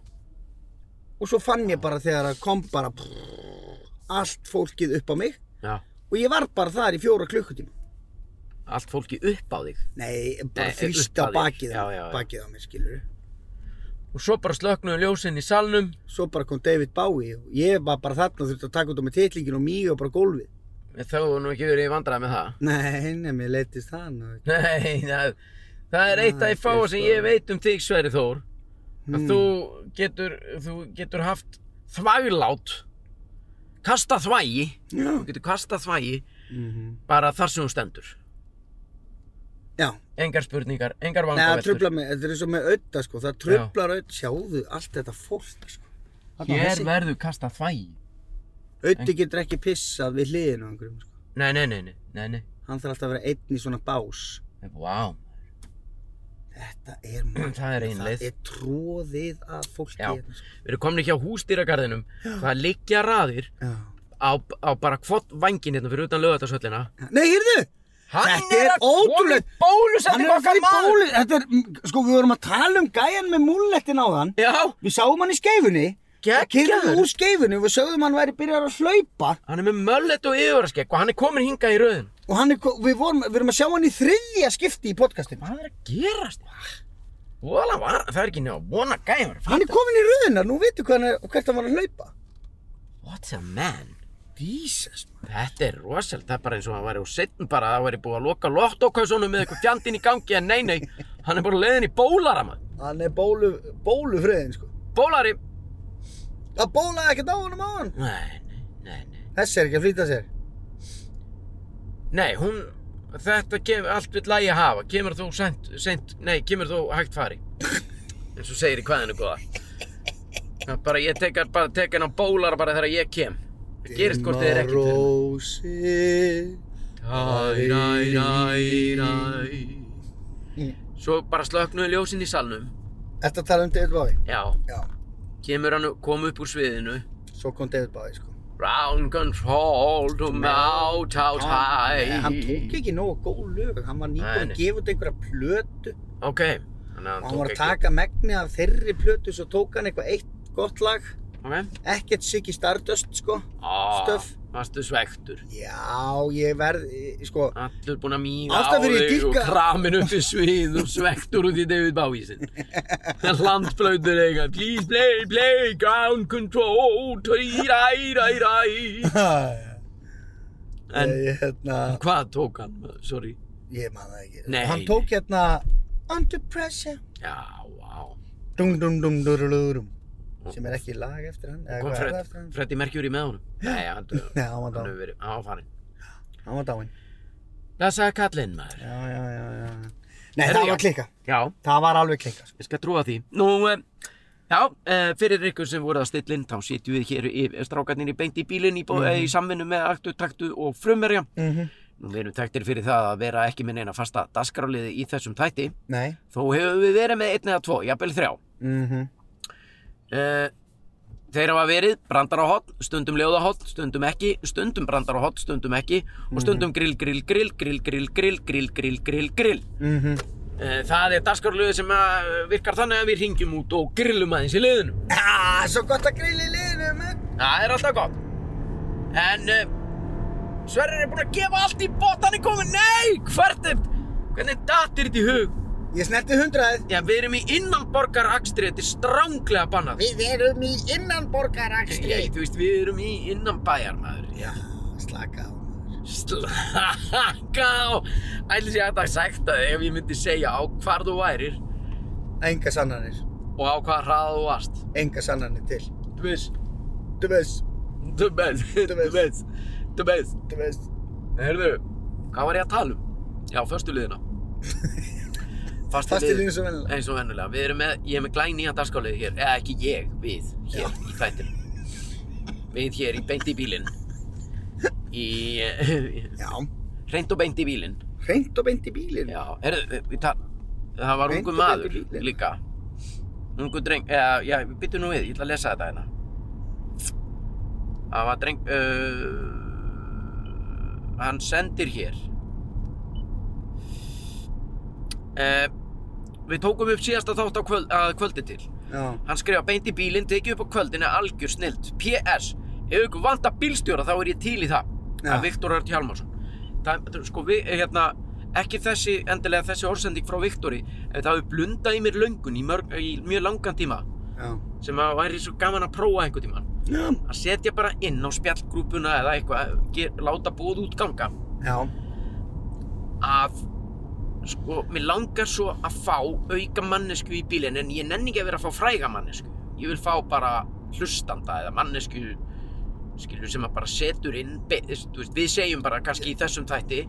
S1: og svo fann ég bara þegar að kom bara allt fólkið upp á mig
S2: já,
S1: og ég var bara þar í fjóra klukkutíma
S2: allt fólki upp á þig.
S1: nei, bara
S2: Nei,
S1: þrýst á
S2: upp að þér.
S1: bakið,
S2: Já, já, já.
S1: bakið á mér, skilur
S2: Og svo bara slöknuðu ljósin í salnum.
S1: svo bara kom David Bowie og ég var bara þarna og þurfti að taka út á mig titlingin og mýja og bara gólfið.
S2: Þá hefur nú ekki verið í vandræði með það.
S1: Nei, nei, mér leittist það nú. ekki.
S2: Nei, það, það er eitt af því
S1: Nei, Hmm.
S2: fáa
S1: Kristó.
S2: sem ég veit um þig, Sverri Þór. Að þú, getur, þú getur haft þvæglát, kasta þvægi,
S1: Já.
S2: þú getur kasta þvægi
S1: Mhm.
S2: bara þar sem þú stendur.
S1: Já,
S2: Engar spurningar, engar
S1: nei, það
S2: vangaveltur.
S1: trublar mig, þetta er eins og með auða sko, það trublar auða, sjáðu allt þetta fólk sko.
S2: Hér verður kasta þvægi.
S1: Auði getur ekki pissað við hliðinu á einhverjum sko.
S2: Nei, nei, nei, nei, nei, nei.
S1: Hann þarf alltaf að vera einn í svona bás.
S2: Vá, wow.
S1: Þetta er maður.
S2: Það er ein leið.
S1: Það er tróðið að fólki
S2: Já.
S1: hérna sko.
S2: við erum komin hjá hústýragarðinum, það liggja raðir
S1: Já.
S2: á, á bara hvort vangin hérna fyrir utan lögatarsöllina.
S1: Nei, heyrðu! Þetta er ótrúlegt. Hann
S2: Bólusetning
S1: er að
S2: okkar
S1: fara í
S2: maður!
S1: bóli, þetta er, mm, sko við vorum að tala um gæjan með múllettin á þann.
S2: Já,
S1: Við sáum hann í skeifunni
S2: Geggjaður.
S1: Kyrðum úr skeifunni og við sögðum hann væri byrjar að hlaupa
S2: Hann er með möllet og yfirvaraskegg og hann er komin hingað í rauðin.
S1: og hann er, ko- við, vorum, við erum að sjá hann í þriðja skipti í podcastinu
S2: Hvað er að gerast? Vola var, það er ekki nefn að vona gæmur.
S1: Hann er komin í röðina, nú veitu hvað hann er, hvert hann var að hlaupa
S2: What's a man?
S1: Jesus man.
S2: Þetta er rosalega, það er bara eins og hann væri úr setn bara, það væri búið að loka lottókausunum með eitthvað fjandinn í gangi, en nei, nei, hann er bara leiðin í bólara maður.
S1: Hann er bólu, bólufröðin sko
S2: Bólari?
S1: Það bólaði ekkert á honum á hann
S2: Nei, nei, nei, nei.
S1: Þessi er ekki að flýta sér
S2: Nei, hún, þetta kemur, allt vill lægi hafa, kemur þú sent, sent, nei, kemur þú hægt fari. En svo segir í hvaðinu góða. Það er Bara ég tekar, bara tekar hann á bólar bara þegar ég kem. Það gerist hvort þið er ekki til.
S1: Rósi
S2: Æ, næ, næ, næ.
S1: Mm.
S2: Svo bara slöknuðu ljósin í salnum.
S1: Þetta tala um David Bowie
S2: Já,
S1: Já,
S2: kemur hann, kom upp úr sviðinu.
S1: svo kom David Bowie sko
S2: Round control to mount out high.
S1: Nei, Hann tók ekki nógu góð lög Hann var
S2: Nei,
S1: nýbúinn
S2: nei.
S1: að gefa út einhverja plötu
S2: Ok, þannig að hann
S1: og hann
S2: tók
S1: var
S2: ekki.
S1: að taka megni af þeirri plötu svo tók hann eitthvað eitt gott lag
S2: Ok.
S1: ekkert Siggy Stardust sko
S2: Ah,
S1: Stöff.
S2: Varstu svektur.
S1: já ég verð eh, sko
S2: Allur búinn að mýga á
S1: Ástæðan fyrir ég
S2: þig og
S1: dýrka-
S2: kramin upp í svið og svektur út í David Bowie sinn. Landblöytur eitthvað. Please play, play, ground control, tæ, ræ, ræ, ræ. En
S1: ég, hérna
S2: hvað tók hann? Sorry.
S1: ég man það ekki
S2: Nei,
S1: hann tók hérna Under Pressure
S2: Já, vá.
S1: Dung, dung, dung, durururum. Sem er ekki lag eftir hann. Eða hvað
S2: Kom
S1: er það
S2: Fred,
S1: eftir hann?
S2: Freddi Merkjúri með honum? Nei, hann
S1: Nei, hann var
S2: hann
S1: dáinn.
S2: hefur verið, hann var farinn.
S1: Hann var dáinn.
S2: Blessaði kallinn maður.
S1: Já, já, já, já. Nei,
S2: Herðu,
S1: það
S2: já.
S1: var klikka.
S2: Já,
S1: Það var alveg klikka. sko.
S2: ég skal trúa því. Nú, eh, já, eh, fyrir ykkur sem voru að stilla inn, þá sitjum við hér í strákarnir í beint í bílinn í, bó,
S1: Mhm.
S2: í samvinnu með aktu, taktu og frumverja. Nú, við erum taktir fyrir það að vera ekki með neina fasta dagskráliði í þessum tætti.
S1: Nei.
S2: Þó hefur við verið með einn eða tvo, jafnvel þrjá.
S1: Mhm.
S2: Eh, Þeir hafa verið brandar á hotn, stundum ljóða hotn, stundum ekki, stundum brandar á hotn, stundum ekki og stundum grill, grill, grill, grill, grill, grill, grill, grill, grill, grill.
S1: Mhm.
S2: Eh, Það er dagskarlöðu sem að virkar þannig að við ringjum út og grillum aðeins í liðinu.
S1: Ah, svo gott að grilla í liðinu, menn.
S2: Það er alltaf gott. En eh, Sverrir er búinn að gefa allt í bótt, hann er kominn, nei, hvert er, hvernig dattir þetta í hug?
S1: Ég snerti hundraðið.
S2: Já, við erum í innanborgar akstri, þetta er stránglega bannað.
S1: Við erum í innanborgarakstri.
S2: Ég, þú veist, við erum í innanbæjar, maður.
S1: Já, slaka á. maður.
S2: Slaka á Ætli sé hægt að segta þig ef ég myndi segja á hvar þú værir
S1: Enga sannanir.
S2: og á hvað hraða þú varst
S1: Enga sannanir til.
S2: Þú veist,
S1: Þú veist,
S2: þú veist, þú veist, þú veist
S1: þú veist.
S2: Heyrðu, hvað var ég að tala um? Já, föstu liðina
S1: Fastir línu sem vennilega.
S2: Eins og vennulega, við erum með, ég er með glæn nýja dagskáliði hér Eða ekki ég, við, hér í þættinu Við hér í beint í bílinn Í,
S1: Já,
S2: reynd og beint í bílinn
S1: hreint og beint í bílinn.
S2: Já, heyrðu, eh, við tala, það var
S1: Beint
S2: ungu
S1: og
S2: maður
S1: beint í bílinn.
S2: líka. Ungu dreng, eða, já, byttu nú við, ég ætla að lesa þetta hérna. Það var dreng, uh, hann sendir hér. Uh, við tókum upp síðasta þátt á kvöld, að kvöldi til.
S1: Já.
S2: Hann skrifa beint í bílinn, tekið upp á kvöldinu algjör snilt. PS, ef ykkur vanda bílstjóra þá er ég til í það.
S1: Já.
S2: Það er Viktor Örn Hjálmarsson. Það, sko, við, hérna, ekki þessi, endilega þessi orðsending frá Viktori, en það hefur blundað í mér löngun í, mörg, í mjög langan tíma,
S1: Já.
S2: sem að væri svo gaman að prófa einhvern tíman.
S1: Já.
S2: Að setja bara inn á spjallgrúpuna eða eitthvað, ger, láta búið út ganga.
S1: Já.
S2: Að, sko, mér langar svo að fá auka mannesku í bílinn, en ég nenni ekki að vera að fá fræga mannesku. Ég vil fá bara hlustanda eða mannesku, skilur, sem að bara setur inn, be, þú veist, við segjum bara kannski í þessum þætti,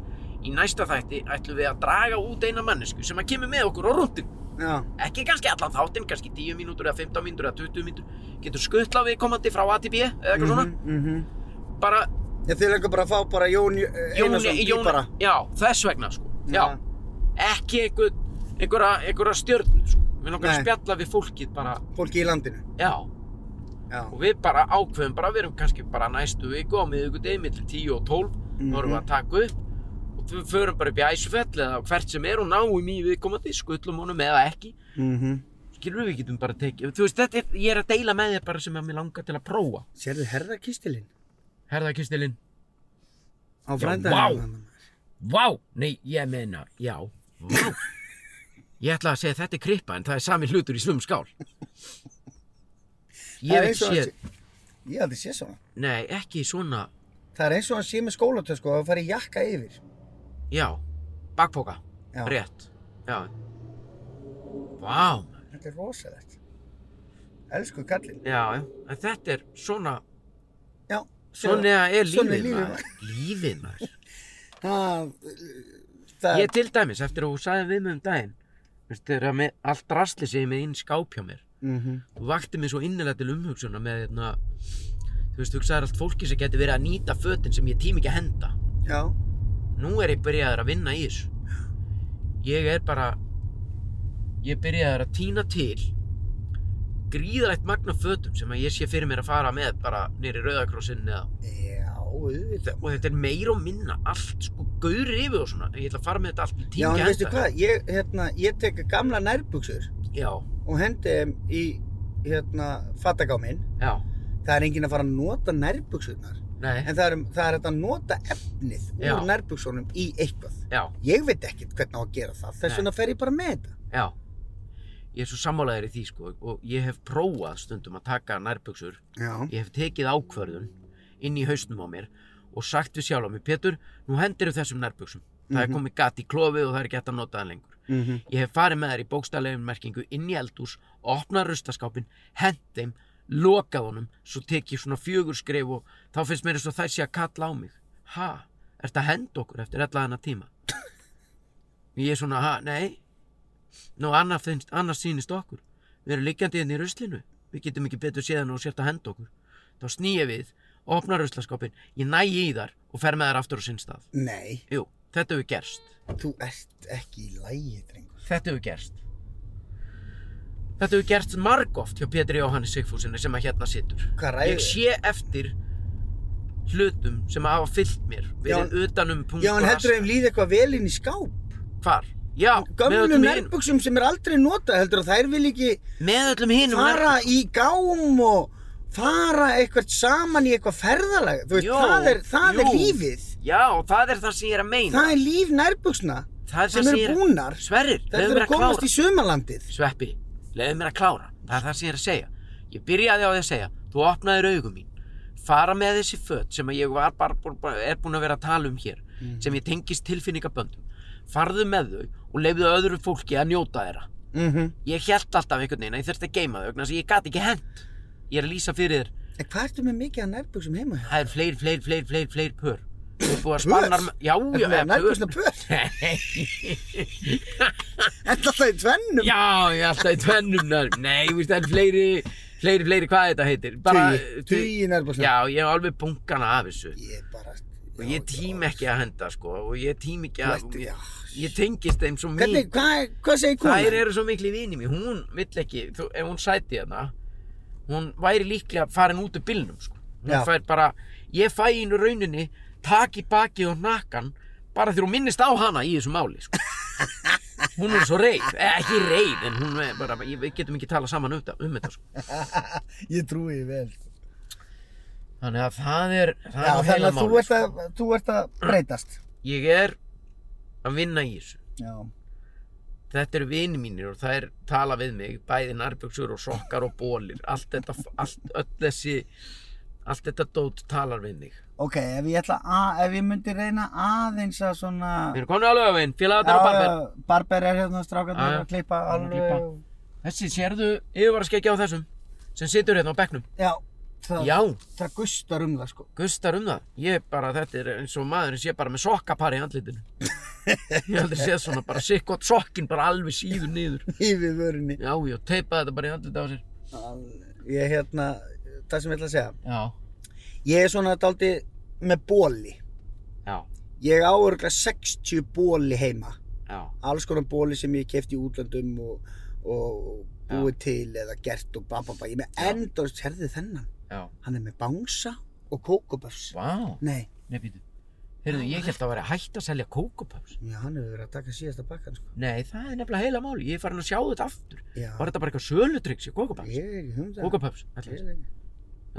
S2: í næsta þætti ætlum við að draga út eina mannesku sem að kemur með okkur á rúndin.
S1: Já.
S2: Ekki kannski allan þáttinn, kannski 10 mínútur eða 15 mínútur eða 20 mínútur. Getur skuttlað við komandi frá A til B eða
S1: Mhm.
S2: eitthvað svona. Bara
S1: Ég þið langar bara að fá bara Jón eh, Einarsson
S2: Jóni, Jóni,
S1: pípara.
S2: já, þess vegna sko. Já.
S1: Mhm.
S2: ekki einhver, einhverja, einhverja stjörn sko. við langar
S1: Nei.
S2: að spjalla við fólkið bara,
S1: Fólki í landinu.
S2: já,
S1: Já.
S2: og við bara ákveðum bara, við erum kannski bara næstu viku á miðvikudegi millir 10 og 12
S1: Mhm.
S2: þá erum við að taka upp og við förum bara upp í æsufell eða hvert sem er og náum í viðkomandi skullum honum eða ekki
S1: Mhm.
S2: skilur við getum bara tekið, þú veist þetta er, ég er að deila með þér bara sem að mér langar til að prófa
S1: Sérðu herrakistilinn?
S2: herðakistilinn,
S1: Á
S2: Já,
S1: frænda
S2: vá. vá, nei, ég meina já, vá ég ætla að segja þetta er krippa en það er sami hlutur í svum skál ég
S1: Það er
S2: hef
S1: eins
S2: ekki
S1: og
S2: séð
S1: Ég held ég sé svona.
S2: Nei, ekki svona,
S1: Það er eins og hann sé með skólatösku og það fari jakka yfir.
S2: já, bakpoka,
S1: Já.
S2: rétt, já. Vá, maður.
S1: Þetta er rosalegt. Elsku kallinn.
S2: já, já, en þetta er svona,
S1: Já.
S2: svona er
S1: Svona er
S2: lífið
S1: lífið,
S2: maður, lífið maður.
S1: Það, það
S2: Ég til dæmis, eftir að þú sagði við mig um daginn, veist, þegar með allt drasli sem ég er með inn skáp hjá mér,
S1: Mhm.
S2: þú vakti mér svo innilega til umhugsuna með, hérna, þú veist, hugsaðar allt fólki sem geti verið að nýta fötin sem ég tími ekki að henda.
S1: Já.
S2: nú er ég byrjaður að vinna í þessu ég er bara ég er byrjaður að týna til gríðalegt magna fötum sem að ég sé fyrir mér að fara með bara nýri rauðakrossin eða
S1: Já, auðvitað.
S2: og þetta er meira og minna allt sko gaur yfir og svona ég ætla að fara með þetta allt í
S1: Já,
S2: tíma
S1: en veistu hvað? Ég, hérna, ég tek gamla nærbuksur
S2: já,
S1: og hendi þeim í, hérna, fatagáminn.
S2: já,
S1: Það er enginn að fara að nota nærbuxurnar.
S2: nei,
S1: En það er, um, það er hægt að nota efnið
S2: Já.
S1: úr nærbuksunum í eitthvað.
S2: já,
S1: Ég veit ekkert hvernig á að gera það,
S2: Nei.
S1: þess vegna fer ég bara með þetta.
S2: já ég er svo sammálaður í því sko og ég hef prófað stundum að taka nærbuxur
S1: Já.
S2: ég hef tekið ákvörðun inn í hausnum á mér og sagt við sjálf á mig Pétur, nú hendir þessum nærbuksum það er
S1: Mhm.
S2: komið gat í klofið og það er ekki hægt að nota það lengur
S1: Mhm.
S2: Ég hef farið með þær í bókstaflegum merkingu inn í eldhús, opnað rustaskápin, hent þeim, lokað honum, svo tek ég svona fjögur skref og þá finnst mér eins og þær sé að kalla á mig. Ha, ert að henda okkur eftir ellaðana tíma? Ég er svona, ha, nei. Nú, annars, finnst, annars sýnist okkur. Við erum liggjandi inn í ruslinu. Við getum ekki betur séðan og sért að henda okkur. Þá snýja við, opna ruslaskapin, ég næ í þar og fer með þær aftur á sinn stað.
S1: Nei,
S2: Jú, þetta hefur gerst.
S1: þú ert ekki í lægi, drengur.
S2: Þetta hefur gerst. Þetta hefur gerst margóft hjá Pétri Jóhannes Sigfúsinni sem að hérna situr.
S1: Hvað
S2: Ég
S1: ræður?
S2: sé eftir hlutum sem hafa fyllt mér, verið
S1: Já,
S2: utanum punkt
S1: Já, en
S2: og
S1: heldur
S2: rast.
S1: þeim líði eitthvað vel inn í skáp?
S2: Hvar? Já, með
S1: Gömlu
S2: öllum hinum.
S1: nærbuksum sem er aldrei notað, heldur að þær vil ekki
S2: Með öllum hinum
S1: fara í gám og fara eitthvað saman í eitthvað ferðalag. Þú veist,
S2: Jó,
S1: það, er, það er
S2: jú.
S1: lífið.
S2: Já, og það er það sem ég er að meina.
S1: Það er líf nærbuksna
S2: Það er það
S1: sem
S2: sem
S1: eru
S2: ég er...
S1: búnar.
S2: Sverrir,
S1: Þetta
S2: leiðu
S1: eru
S2: mér
S1: að
S2: að
S1: komast
S2: klára.
S1: í sumalandið.
S2: Sveppi, leiðu mér að klára. Það er það sem ég er að segja. Ég byrjaði á því að segja, þú opnaðir augum mín. Fara með þessi fött sem að ég var bara, bara er búin að vera að tala um hér,
S1: Mhm.
S2: sem ég tengist tilfinningaböndum. Farðu með þau og leiðu öðru fólki að njóta þeirra.
S1: Mm
S2: Ég held alltaf einhvern veginn að ég þurfti að geima þau, vegna þess að ég gat ekki hent. Ég er að lýsa fyrir þér,
S1: En hvað ertu með mikið af nærbuksum heima? hjá þér?
S2: það er fleiri, fleiri, fleiri, fleiri, fleiri pör. Þú er búið að
S1: Pör?
S2: spanna... Já, já,
S1: Ertu með
S2: eh,
S1: nærbuksna pör? Ertu alltaf í tvennum?
S2: Já, ég er alltaf í tvennum nörm. Nei, ég veist, það er fleiri, fleiri, fleiri, hvað þetta heitir. Bara,
S1: Tugi, tugi nærbuxna.
S2: Já, ég er alveg bunkana af þessu.
S1: Ég bara...
S2: Og ég tím ekki að henda, sko, og ég tím ekki
S1: Þú
S2: að...
S1: ert- já.
S2: Ég tengist þeim svo
S1: Hvernig,
S2: mikið.
S1: hvað, hvað segir konan?
S2: Þær eru svo miklu vinið mér. Hún vill ekki, þú, ef hún sæti hérna, hún væri líklega farin út af bylnum, sko. Hún
S1: Já.
S2: fær bara, ég fæ í hennu rauninni, tak í bakið og nakkan, bara þegar hún minnist á hana í þessu máli, sko. Hún er svo reið, eh, ekki reið, en hún er bara, ég- við getum ekki tala saman um þetta, um þetta sko.
S1: Ég trúi því vel.
S2: Þannig að það er, það
S1: Já,
S2: er nú
S1: þannig
S2: heila sko.
S1: að þú
S2: máli.
S1: ert að, þú ert að
S2: Mm.
S1: breytast.
S2: Ég er að vinna í þessu.
S1: Já.
S2: Þetta eru vini mínir og það er tala við mig, bæði nærbjöksur og sokkar og bólir. Allt þetta, allt, öll þessi, allt þetta dót talar við mig.
S1: Ok, ef ég ætla að, ef ég myndi reyna aðeins að svona...
S2: Við erum komin á lögavinn, félagatnar og barber.
S1: já, barber er hérna strákarnir
S2: Já, já.
S1: að klippa
S2: Hann er að
S1: alveg...
S2: Þessi, sérðu yfirvaraskeggja á þessum sem situr hérna á bekknum?
S1: Já, það,
S2: Já,
S1: það gustar um það sko.
S2: gustar um það. Ég bara, þetta er eins og maðurinn sé bara með sokkapar í andlitinu. Ég hef aldrei séð svona, bara sikkot sokkinn bara alveg síður niður.
S1: Yfir vörunni.
S2: Já, já, teipaði þetta bara í andlitið á sér.
S1: Al- Ég hérna, það sem ég ætla að segja.
S2: Já,
S1: Ég er svona daldi með bóli.
S2: já,
S1: Ég á örgulega 60 bóli heima.
S2: já,
S1: Alls konar bóli sem ég kefti í útlöndum og, og búið til eða gert og bababa. Ég er með
S2: Já.
S1: endur, herði þennan.
S2: já.
S1: Hann er með bangsa og kókoböfs.
S2: Vá,
S1: Nei,
S2: nei, býtu. Heyrðu, ég held að vera hægt að selja kókupöps.
S1: já, hann hefur verið að taka síðasta bakkan sko.
S2: Nei, það er nefnilega heila máli. Ég er farin að sjá þetta aftur.
S1: Já,
S2: Var þetta bara eitthvað sölutryggs í kókupöps?
S1: ég er ekki hundar.
S2: Kókupöps, allavega.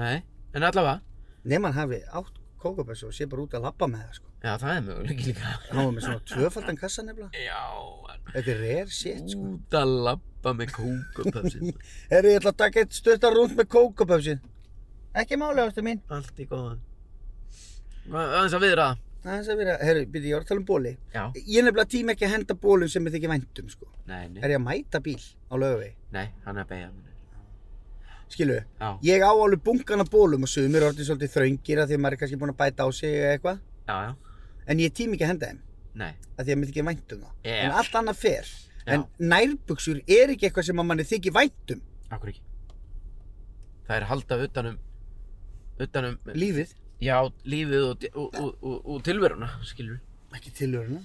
S2: Nei, en allavega.
S1: Nefn hann hafi átt kókoböfs og sé bara út að labba með það sko.
S2: Já, það er möguleik líka.
S1: Hann var með svona tvöfaldan kassa nefnilega.
S2: Já,
S1: Þetta er rare shit
S2: en
S1: sko.
S2: út að labba með kókupöpsinn.
S1: Herri, ég ætla að taka eitt stuttar rúnd með kókoböfsin. Ekki máli ástu mín.
S2: Allt í góða. Hvað, aðeins að viðra það?
S1: Það er þess að vera, herri, byrju, ég var að tala um bóli.
S2: Já,
S1: Ég er nefnilega tím ekki að henda bólum sem ég þykir væntum sko.
S2: nei, nei,
S1: Er ég að mæta bíl á lögavegi?
S2: nei, hann er að beigja mér.
S1: Skilu,
S2: Já,
S1: ég á alveg bunkan af bólum og sumir orðin svolítið þröngir að því að maður er kannski búin að bæta á sig eða eitthvað.
S2: já, já,
S1: En ég tím ekki að henda þeim.
S2: nei.
S1: að því að mér þykir vænt um það.
S2: Já.
S1: En allt annað fer.
S2: Já.
S1: En nærbuksur er ekki eitthvað sem að manni þykir vænt um
S2: Akkur ekki. Það er halda um, utanum, utanum,
S1: lífið.
S2: já, lífið og, og, og, og, og tilveruna, skilur við.
S1: Ekki tilhöruna.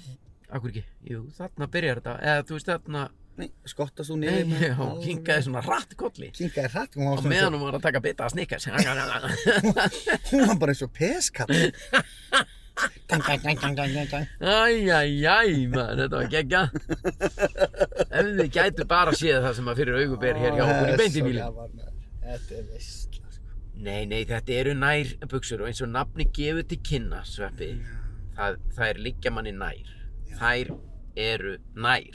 S2: Akkur ekki. Jú, þarna byrjar þetta. Eða, þú veist, þarna,
S1: Nei, skottast hún
S2: Nei,
S1: niður. með-
S2: já, hún kinkaði svona rætt kolli
S1: Kinkaði hratt, hún var,
S2: og
S1: svona
S2: meðan hún var að taka bita að snikka
S1: eins og- hún var bara eins og peskall. Dang, dang, dang, dang, dang, dang, dang.
S2: Æjæjæj, maður, þetta var gegga Ef þið gætu bara séð það sem að fyrir augum ber hér hjá okkur í beint í bílinn
S1: bílinn. Þetta er veistla, sko.
S2: Nei, nei, þetta eru nær buksur og eins og nafni gefur til kynna, sveppi Það, það er liggja manni nær Þær eru nær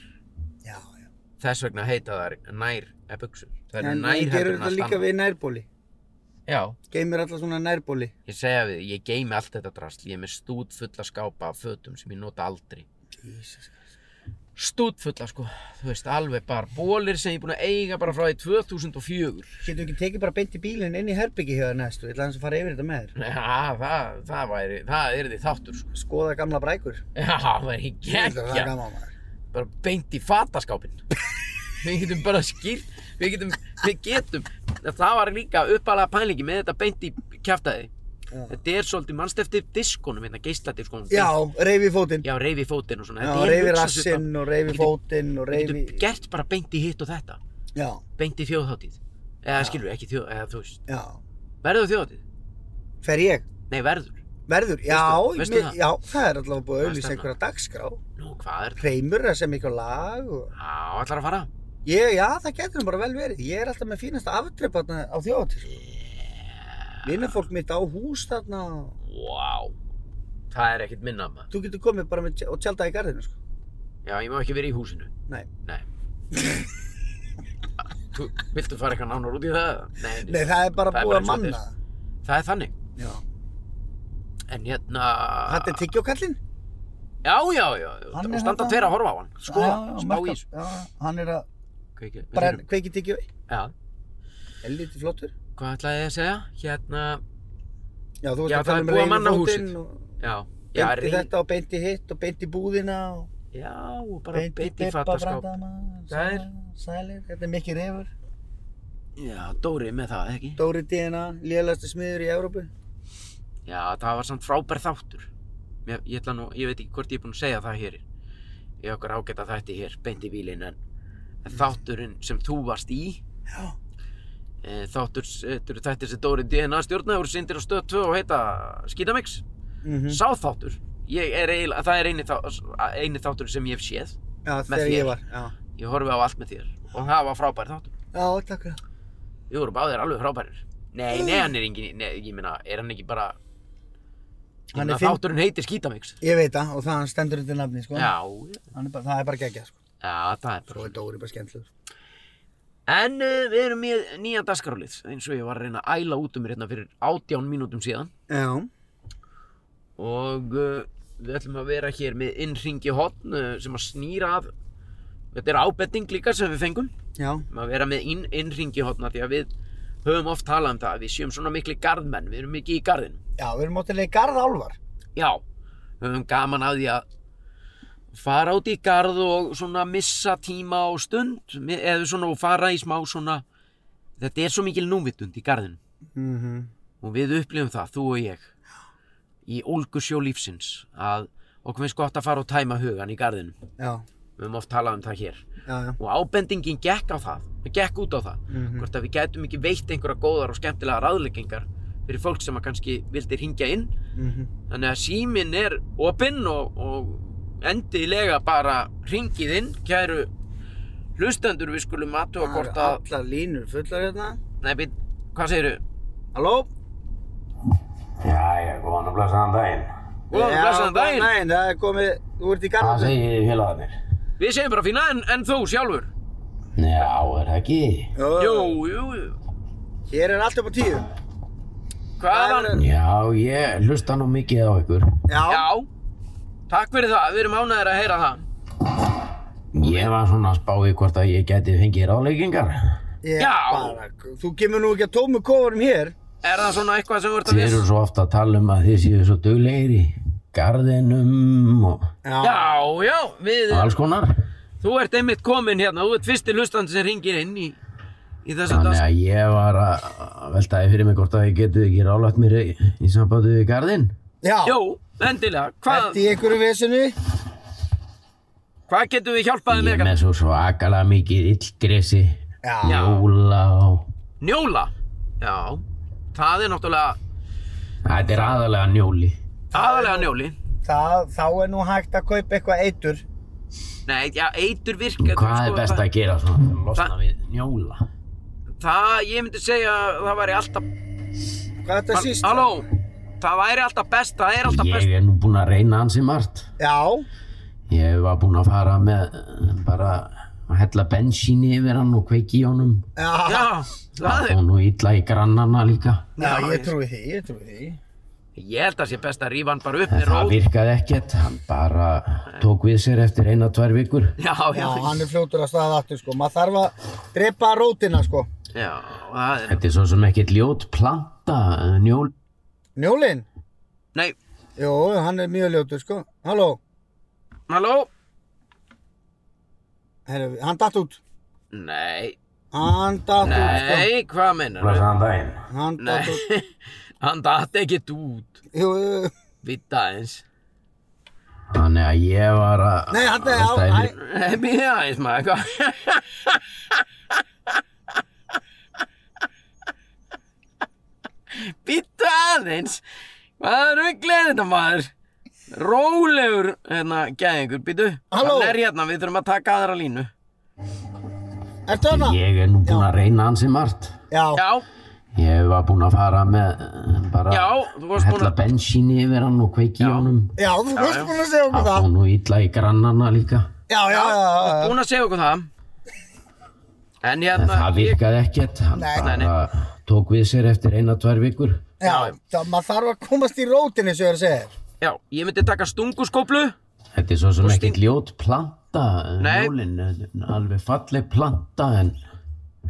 S1: Já, já.
S2: Þess vegna heita þær nær buksur Það eru
S1: En
S2: nær
S1: það gerur
S2: heldur en
S1: þetta
S2: allt
S1: líka
S2: annað
S1: við nærbóli.
S2: Já,
S1: Geymir alla svona nærbóli.
S2: ég segja við, þig, ég geymi allt þetta drasl Ég er með stút fulla skápa af fötum sem ég nota aldrei
S1: Jesus Christ.
S2: stútfulla sko, þú veist, alveg bara bólir sem ég er búin að eiga bara frá því 2004
S1: Getur ekki tekið bara beint í bílinn inn í herbyggi hjá þér næstu, ég ætla hans að fara yfir þetta með þér.
S2: Já, það, það væri, það er því þáttur sko.
S1: Skoða gamla brækur.
S2: Já, það væri
S1: Þetta er það
S2: geggja,
S1: gaman maður.
S2: bara beint í fataskápinn Við getum bara skýrt, við getum, við getum Það var líka uppalega pælingi með þetta beint í kjaftaði
S1: Já.
S2: Þetta er svolítið, mannst eftir diskonum hérna, geisladiskónum
S1: Já, reyfi fótinn.
S2: Já, reyfi fótinn og svona
S1: Já,
S2: Þetta er
S1: reyfi
S2: hugsað þetta-
S1: rassinn og reyfi
S2: Við getum-
S1: fótinn og
S2: um, Við
S1: reyfi...
S2: getum gert bara beint í hitt og þetta
S1: Já,
S2: Beint í þjóðháttíð Eða
S1: Já.
S2: skilur, ekki þjóð, eða þú veist
S1: já.
S2: Verður þjóðháttíð?
S1: Fer ég?
S2: Nei, verður
S1: Verður? Já,
S2: Veistu- veistu
S1: mér-
S2: það?
S1: já, það er allavega búið
S2: Það
S1: að
S2: er
S1: auðlýsa
S2: stefna.
S1: einhverja dagskrá.
S2: Nú, hvað er það?
S1: Hreimur að sem eitthvað lag og...
S2: Á, allar að fara?
S1: Ég, já, það getur nú bara vel verið. Ég er alltaf með fínasta aftrip þarna á þjóðatíð. Vinnafólk mitt á hús þarna.
S2: Vá Það er ekkert minna maður
S1: Þú getur komið bara með, tj- og tjálta í garðinu, sko.
S2: Já, ég má ekki verið í húsinu
S1: Nei.
S2: Nei Þú, viltu fara eitthvað nánar út í það? eða? Nei,
S1: Nei, það er bara
S2: Það er
S1: búið
S2: bara
S1: að
S2: eins og
S1: manna
S2: þetta
S1: það.
S2: það er þannig
S1: Já.
S2: En hérna
S1: Þetta er tyggjókallinn?
S2: Já, já, já,
S1: Hann
S2: og
S1: er
S2: standa
S1: þarna.
S2: tveir að horfa á hann Sko,
S1: Já, já,
S2: spá í
S1: markað.
S2: þessu
S1: Já, hann er að
S2: Kveikið, við
S1: brenn,
S2: þurfum-
S1: kveiki tyggjói.
S2: Já,
S1: Er lítið flottur.
S2: hvað ætlaði ég að segja? Hérna,
S1: Já, þú veist
S2: Já,
S1: að
S2: það
S1: tala
S2: er
S1: um
S2: búið að manna
S1: reynifótinn og
S2: já Já,
S1: beinti
S2: rey-
S1: þetta og beinti hitt og beinti búðina og
S2: Já, og bara beint
S1: beinti
S2: í
S1: Bebba
S2: fattaskáp.
S1: Brandana,
S2: Það er-
S1: Sæ- Sælir, þetta er mikið reyfur.
S2: Já, Dóri með það, ekki?
S1: Dóri DNA, lélægasti smiður í Evrópu.
S2: Já, það var samt frábær þáttur. Mér, ég, ætla nú, ég veit ekki hvort ég er búinn að segja það hér. Ég okkur ágæta þætti hér, beint í bílinn, en, en þátturinn sem þú varst í,
S1: Já.
S2: e, þáttur, þetta eru þættir sem Dóri DNA stjórnaður, sindir á stöð 2 og heita Skítamix.
S1: Mm
S2: Sá þáttur. Ég er eiginlega, það er eini, þá, eini þáttur sem ég hef séð.
S1: Já,
S2: Með
S1: þegar
S2: þér.
S1: ég var. Já,
S2: Ég horfi á allt með þér og það var frábær þáttur.
S1: já takk fyrir það.
S2: Við vorum báðir alveg frábærir. Nei, nei, hann er engin, nei, ég meina, er hann ekki bara, ég
S1: Hann
S2: meina,
S1: er finn-
S2: þátturinn heitir Skítamix.
S1: Ég veit það og það hann stendur undir nafni, sko.
S2: Já,
S1: Hann Er bara, það er bara geggjað, sko.
S2: já, það er
S1: Svo
S2: bara.
S1: er Dóri bara skemmtilegur.
S2: En uh, við erum með nýjan dagskrálið, eins og ég var að reyna að æla út um mér hérna fyrir átján mínútum síðan.
S1: Já.
S2: Og uh, við ætlum að vera hér með innringi hotn uh, sem að snýra að, þetta er ábetting líka sem við fengum,
S1: Já.
S2: um að vera með inn, innringi hotna því að við höfum oft talað um það, að við séum svona mikli garðmenn, við erum mikið í garðinu.
S1: Já, við erum mótilega í garðálfar.
S2: Já, við höfum gaman að því að fara út í garð og svona missa tíma og stund mi- eða svona og fara í smá svona þetta er svo mikil núvitund í garðinu
S1: Mm
S2: Mhm.
S1: -hmm.
S2: og við upplifum það, þú og ég í ólgusjó lífsins að okkur finnst gott að fara og tæma hugan í garðinu
S1: Já,
S2: við höfum oft talað um það hér
S1: já, já.
S2: og ábendingin gekk á það, það gekk út á það
S1: Mhm.
S2: hvort að við gætum ekki veitt einhverja góðar og skemmtilega ráðleggingar fyrir fólk sem að kannski vildi hringja inn
S1: Mhm.
S2: Þannig að síminn er opinn og, og endilega bara ringið inn, kæru hlustendur, við skulum aðtuga
S1: Það eru
S2: hvort að...
S1: allar línur fullar hérna.
S2: Nei, být, hvað segirðu?
S1: Halló?
S4: Jæja, góðan og blessaðan daginn.
S2: Góðan og
S1: Já,
S2: blessaðan
S1: góðan
S2: daginn!
S1: daginn, það er komið, þú ert í
S4: Hvað
S1: garðin.
S4: segir félagarnir?
S2: Við segjum bara fína, en, en þú sjálfur?
S4: Já, er það ekki?
S2: Jú, jú, jú.
S1: Hér er allt upp á tíu.
S2: Hvaðan?
S1: Það
S4: Já, ég hlusta nú mikið á ykkur.
S1: Já.
S2: Já. Takk fyrir það, við erum ánægðir að heyra það.
S4: Ég var svona að spá í hvort að ég gæti fengið ráðleikingar.
S1: Ég
S2: Já.
S1: Bara, þú kemur nú ekki að tómu kofunum hér.
S2: Er það svona eitthvað sem þú ert að
S4: Þið
S2: viss?
S4: eru svo ofta að tala um að þið séu svo duglegir í garðinum og
S2: Já, já, við...
S4: og alls konar.
S2: Þú ert einmitt kominn hérna, þú ert fyrsti hlustandi sem ringir inn í, í þessu
S4: Þannig
S2: dag.
S4: að ég var að að veltaði fyrir mig hvort að ég getið ekki ráðlagt mér í, í sambandi við garðin.
S1: Já.
S2: Jú, endilega, hvað...
S1: Ertu í einhverju vesinu?
S2: Hvað getum við hjálpaði
S4: Ég
S2: með
S4: er með
S2: þetta?
S4: svo svakalega mikið illgresi,
S1: Já.
S2: Já.
S4: jóla og...
S2: Njóla? Já, það er náttúrulega
S4: Þetta er aðalega njóli.
S2: aðalega njóli.
S1: Það, þá er nú hægt að kaupa eitthvað eitur.
S2: Nei, já, eitur virka.
S4: Hvað er best að gera svona til að losna
S2: Það-
S4: við njóla?
S2: Það, ég myndi segja, að það væri alltaf...
S1: Hvað er þetta síst?
S2: Halló, það væri alltaf best, það er alltaf best.
S4: Ég er nú búinn að reyna ansi margt.
S1: Já.
S4: Ég var búinn að fara með eh, bara að hella bensíni yfir hann og kveiki í honum.
S1: Já.
S2: Já, það
S4: Og
S2: er...
S4: nú illa í grannana líka.
S1: Já,
S2: Já,
S1: ég
S2: ég-
S1: trúi því, ég trúi því.
S2: Ég held að sé best að rífa hann bara upp
S4: En
S2: með
S4: það
S2: rót.
S4: virkaði ekkert, hann bara tók við sér eftir eina, tvær vikur.
S2: Já, já,
S1: Já, hann er fljótur að staða aftur sko. Maður þarf að drepa rótina sko.
S2: já, það er...
S4: Þetta er svo sem ekkert ljót planta, eh, njól.
S1: Njólin?
S2: Nei,
S1: Jó, hann er mjög ljótur sko. Halló,
S2: halló?
S1: Heru, hann datt út.
S2: Nei,
S1: Hann datt út sko.
S2: nei, hvað meinar þú?
S4: hann daginn.
S1: Hann datt út.
S2: Nei, hann datt ekkert út,
S1: Jú, jú, jú.
S2: vita eins.
S4: Þannig að ég var að...
S1: Nei, hann
S4: að
S1: datt
S4: velta yfir-
S1: út.
S2: Nei, býða aðeins maður, hvað? Býttu aðeins, hvað ruggl er þetta maður? Rólegur, hérna, gæðingur, býttu.
S1: Halló?
S2: Hann er hérna, við þurfum að taka aðra línu.
S1: Ertu hana?
S4: Ég er nú búinn að reyna hans í margt.
S1: Já,
S2: Já,
S4: Ég var búinn að fara með eh, bara...
S2: Já, þú varst búinn
S4: Hella
S2: að-
S4: bensíni yfir hann og kveiki í honum.
S1: já, þú varst búin að segja okkur
S4: Það
S1: það.
S4: fór nú illa í grannana líka.
S1: Já, já, já, já, já.
S2: búin að segja okkur það. En
S4: En
S2: hérna,
S4: það
S2: ég,
S4: virkaði ekkert, hann
S1: Nei.
S4: bara tók við sér eftir eina, tvær vikur.
S1: Já, það, maður þarf að komast í rótin eins og ég er að segja. þér.
S2: já, ég myndi taka stunguskóplu.
S4: Þetta er svo sem
S2: Og
S4: ekkert ljót planta,
S2: Nei.
S4: njólinn, alveg falleg planta, en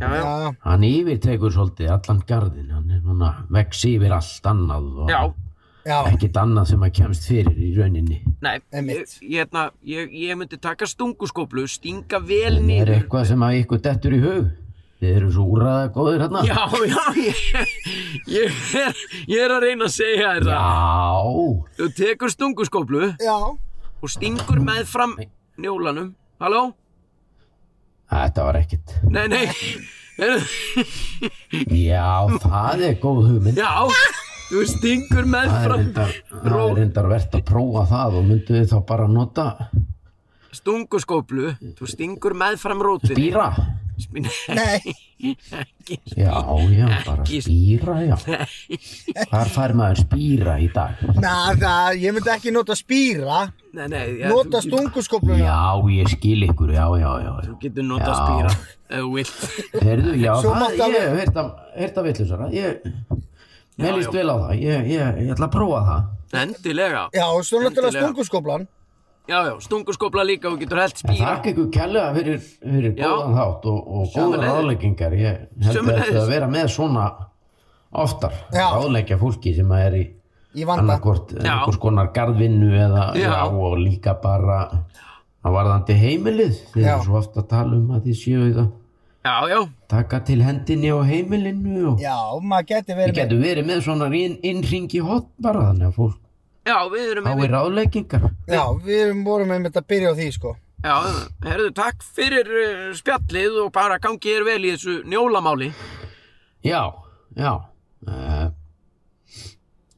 S2: Já, já,
S1: Já, já.
S4: hann yfirtekur svolítið allan garðin, hann er svona, vex yfir allt annað og
S2: já,
S1: Já,
S4: ekkert annað sem að kemst fyrir í rauninni.
S2: nei, ég,
S1: Einmitt.
S2: ég, hérna, ég, ég myndi taka stunguskóplu, stinga vel
S4: En er
S2: niður.
S4: eitthvað sem að ykkur dettur í hug? Þið eru svo úrraða góðir hérna.
S2: Já, já, ég, ég, er, ég er að reyna að segja þér það.
S4: Já,
S2: Þú tekur stunguskóplu
S1: já,
S2: og stingur með fram njólanum. Halló?
S4: þetta var ekkert.
S2: Nei, nei. Heyrðu,
S4: Já, það er góð hugmynd.
S2: Já, þú stingur með
S4: Það er
S2: fram
S4: reyndar, það er reyndar verðt að prófa það og myndu þið þá bara nota
S2: stunguskóplu. Þú stingur með fram rótinni.
S4: býra.
S2: Spýr.
S1: nei,
S4: Já, já, bara
S2: Ekki-
S4: spýra, já. Hvar fær maður spýra í dag?
S1: na, það, ég myndi ekki nota spýra,
S2: Nei, nei. Já,
S1: nota
S2: þú-
S1: stunguskopluna.
S4: Já, ég skil ykkur, já, já, já. já.
S2: Þú getur nota
S4: Já.
S2: spýra ef þú vilt.
S4: Herðu, já,
S1: Svo
S4: það,
S1: mátti
S4: ég
S1: alveg-
S4: hef heyrt að, heyrt að villusara. Ég, mér
S2: Já,
S4: líst
S2: já.
S4: vel á það, ég, ég, ég ætla að prófa það.
S2: Endilega.
S1: Já, og svo náttúrulega
S2: Endilega.
S1: stunguskoplan.
S2: Já, já, stunguskópla líka og getur held
S4: En
S2: spýra.
S4: Þakk ykkur kærlega fyrir, fyrir
S2: Já.
S4: góðan þátt og, og góðan
S2: Sömuleiðis.
S4: ráðleggingar. Ég held að
S2: Sömuleiðis.
S4: þetta að vera með svona oftar
S1: Já.
S4: ráðleggja fólki sem að er í
S1: Í vanda.
S4: annarkort
S2: Já.
S4: einhvers konar garðvinnu eða
S2: Já.
S4: Já, og líka bara að varðandi heimilið. Þið
S1: Já.
S4: eru svo oft að tala um að þið séu það
S2: Já, já.
S4: taka til hendinni og heimilinu og
S1: Já, maður geti
S4: þið
S1: verið með.
S4: getur verið með svona inn, innringi hot bara þannig að fólk
S2: Já, við erum hérna.
S4: fái ráðleggingar.
S1: Já, við erum- vorum einmitt að byrja á því, sko.
S2: Já, herðu, takk fyrir uh, spjallið og bara gangi þér vel í þessu njólamáli.
S4: Já, já uh,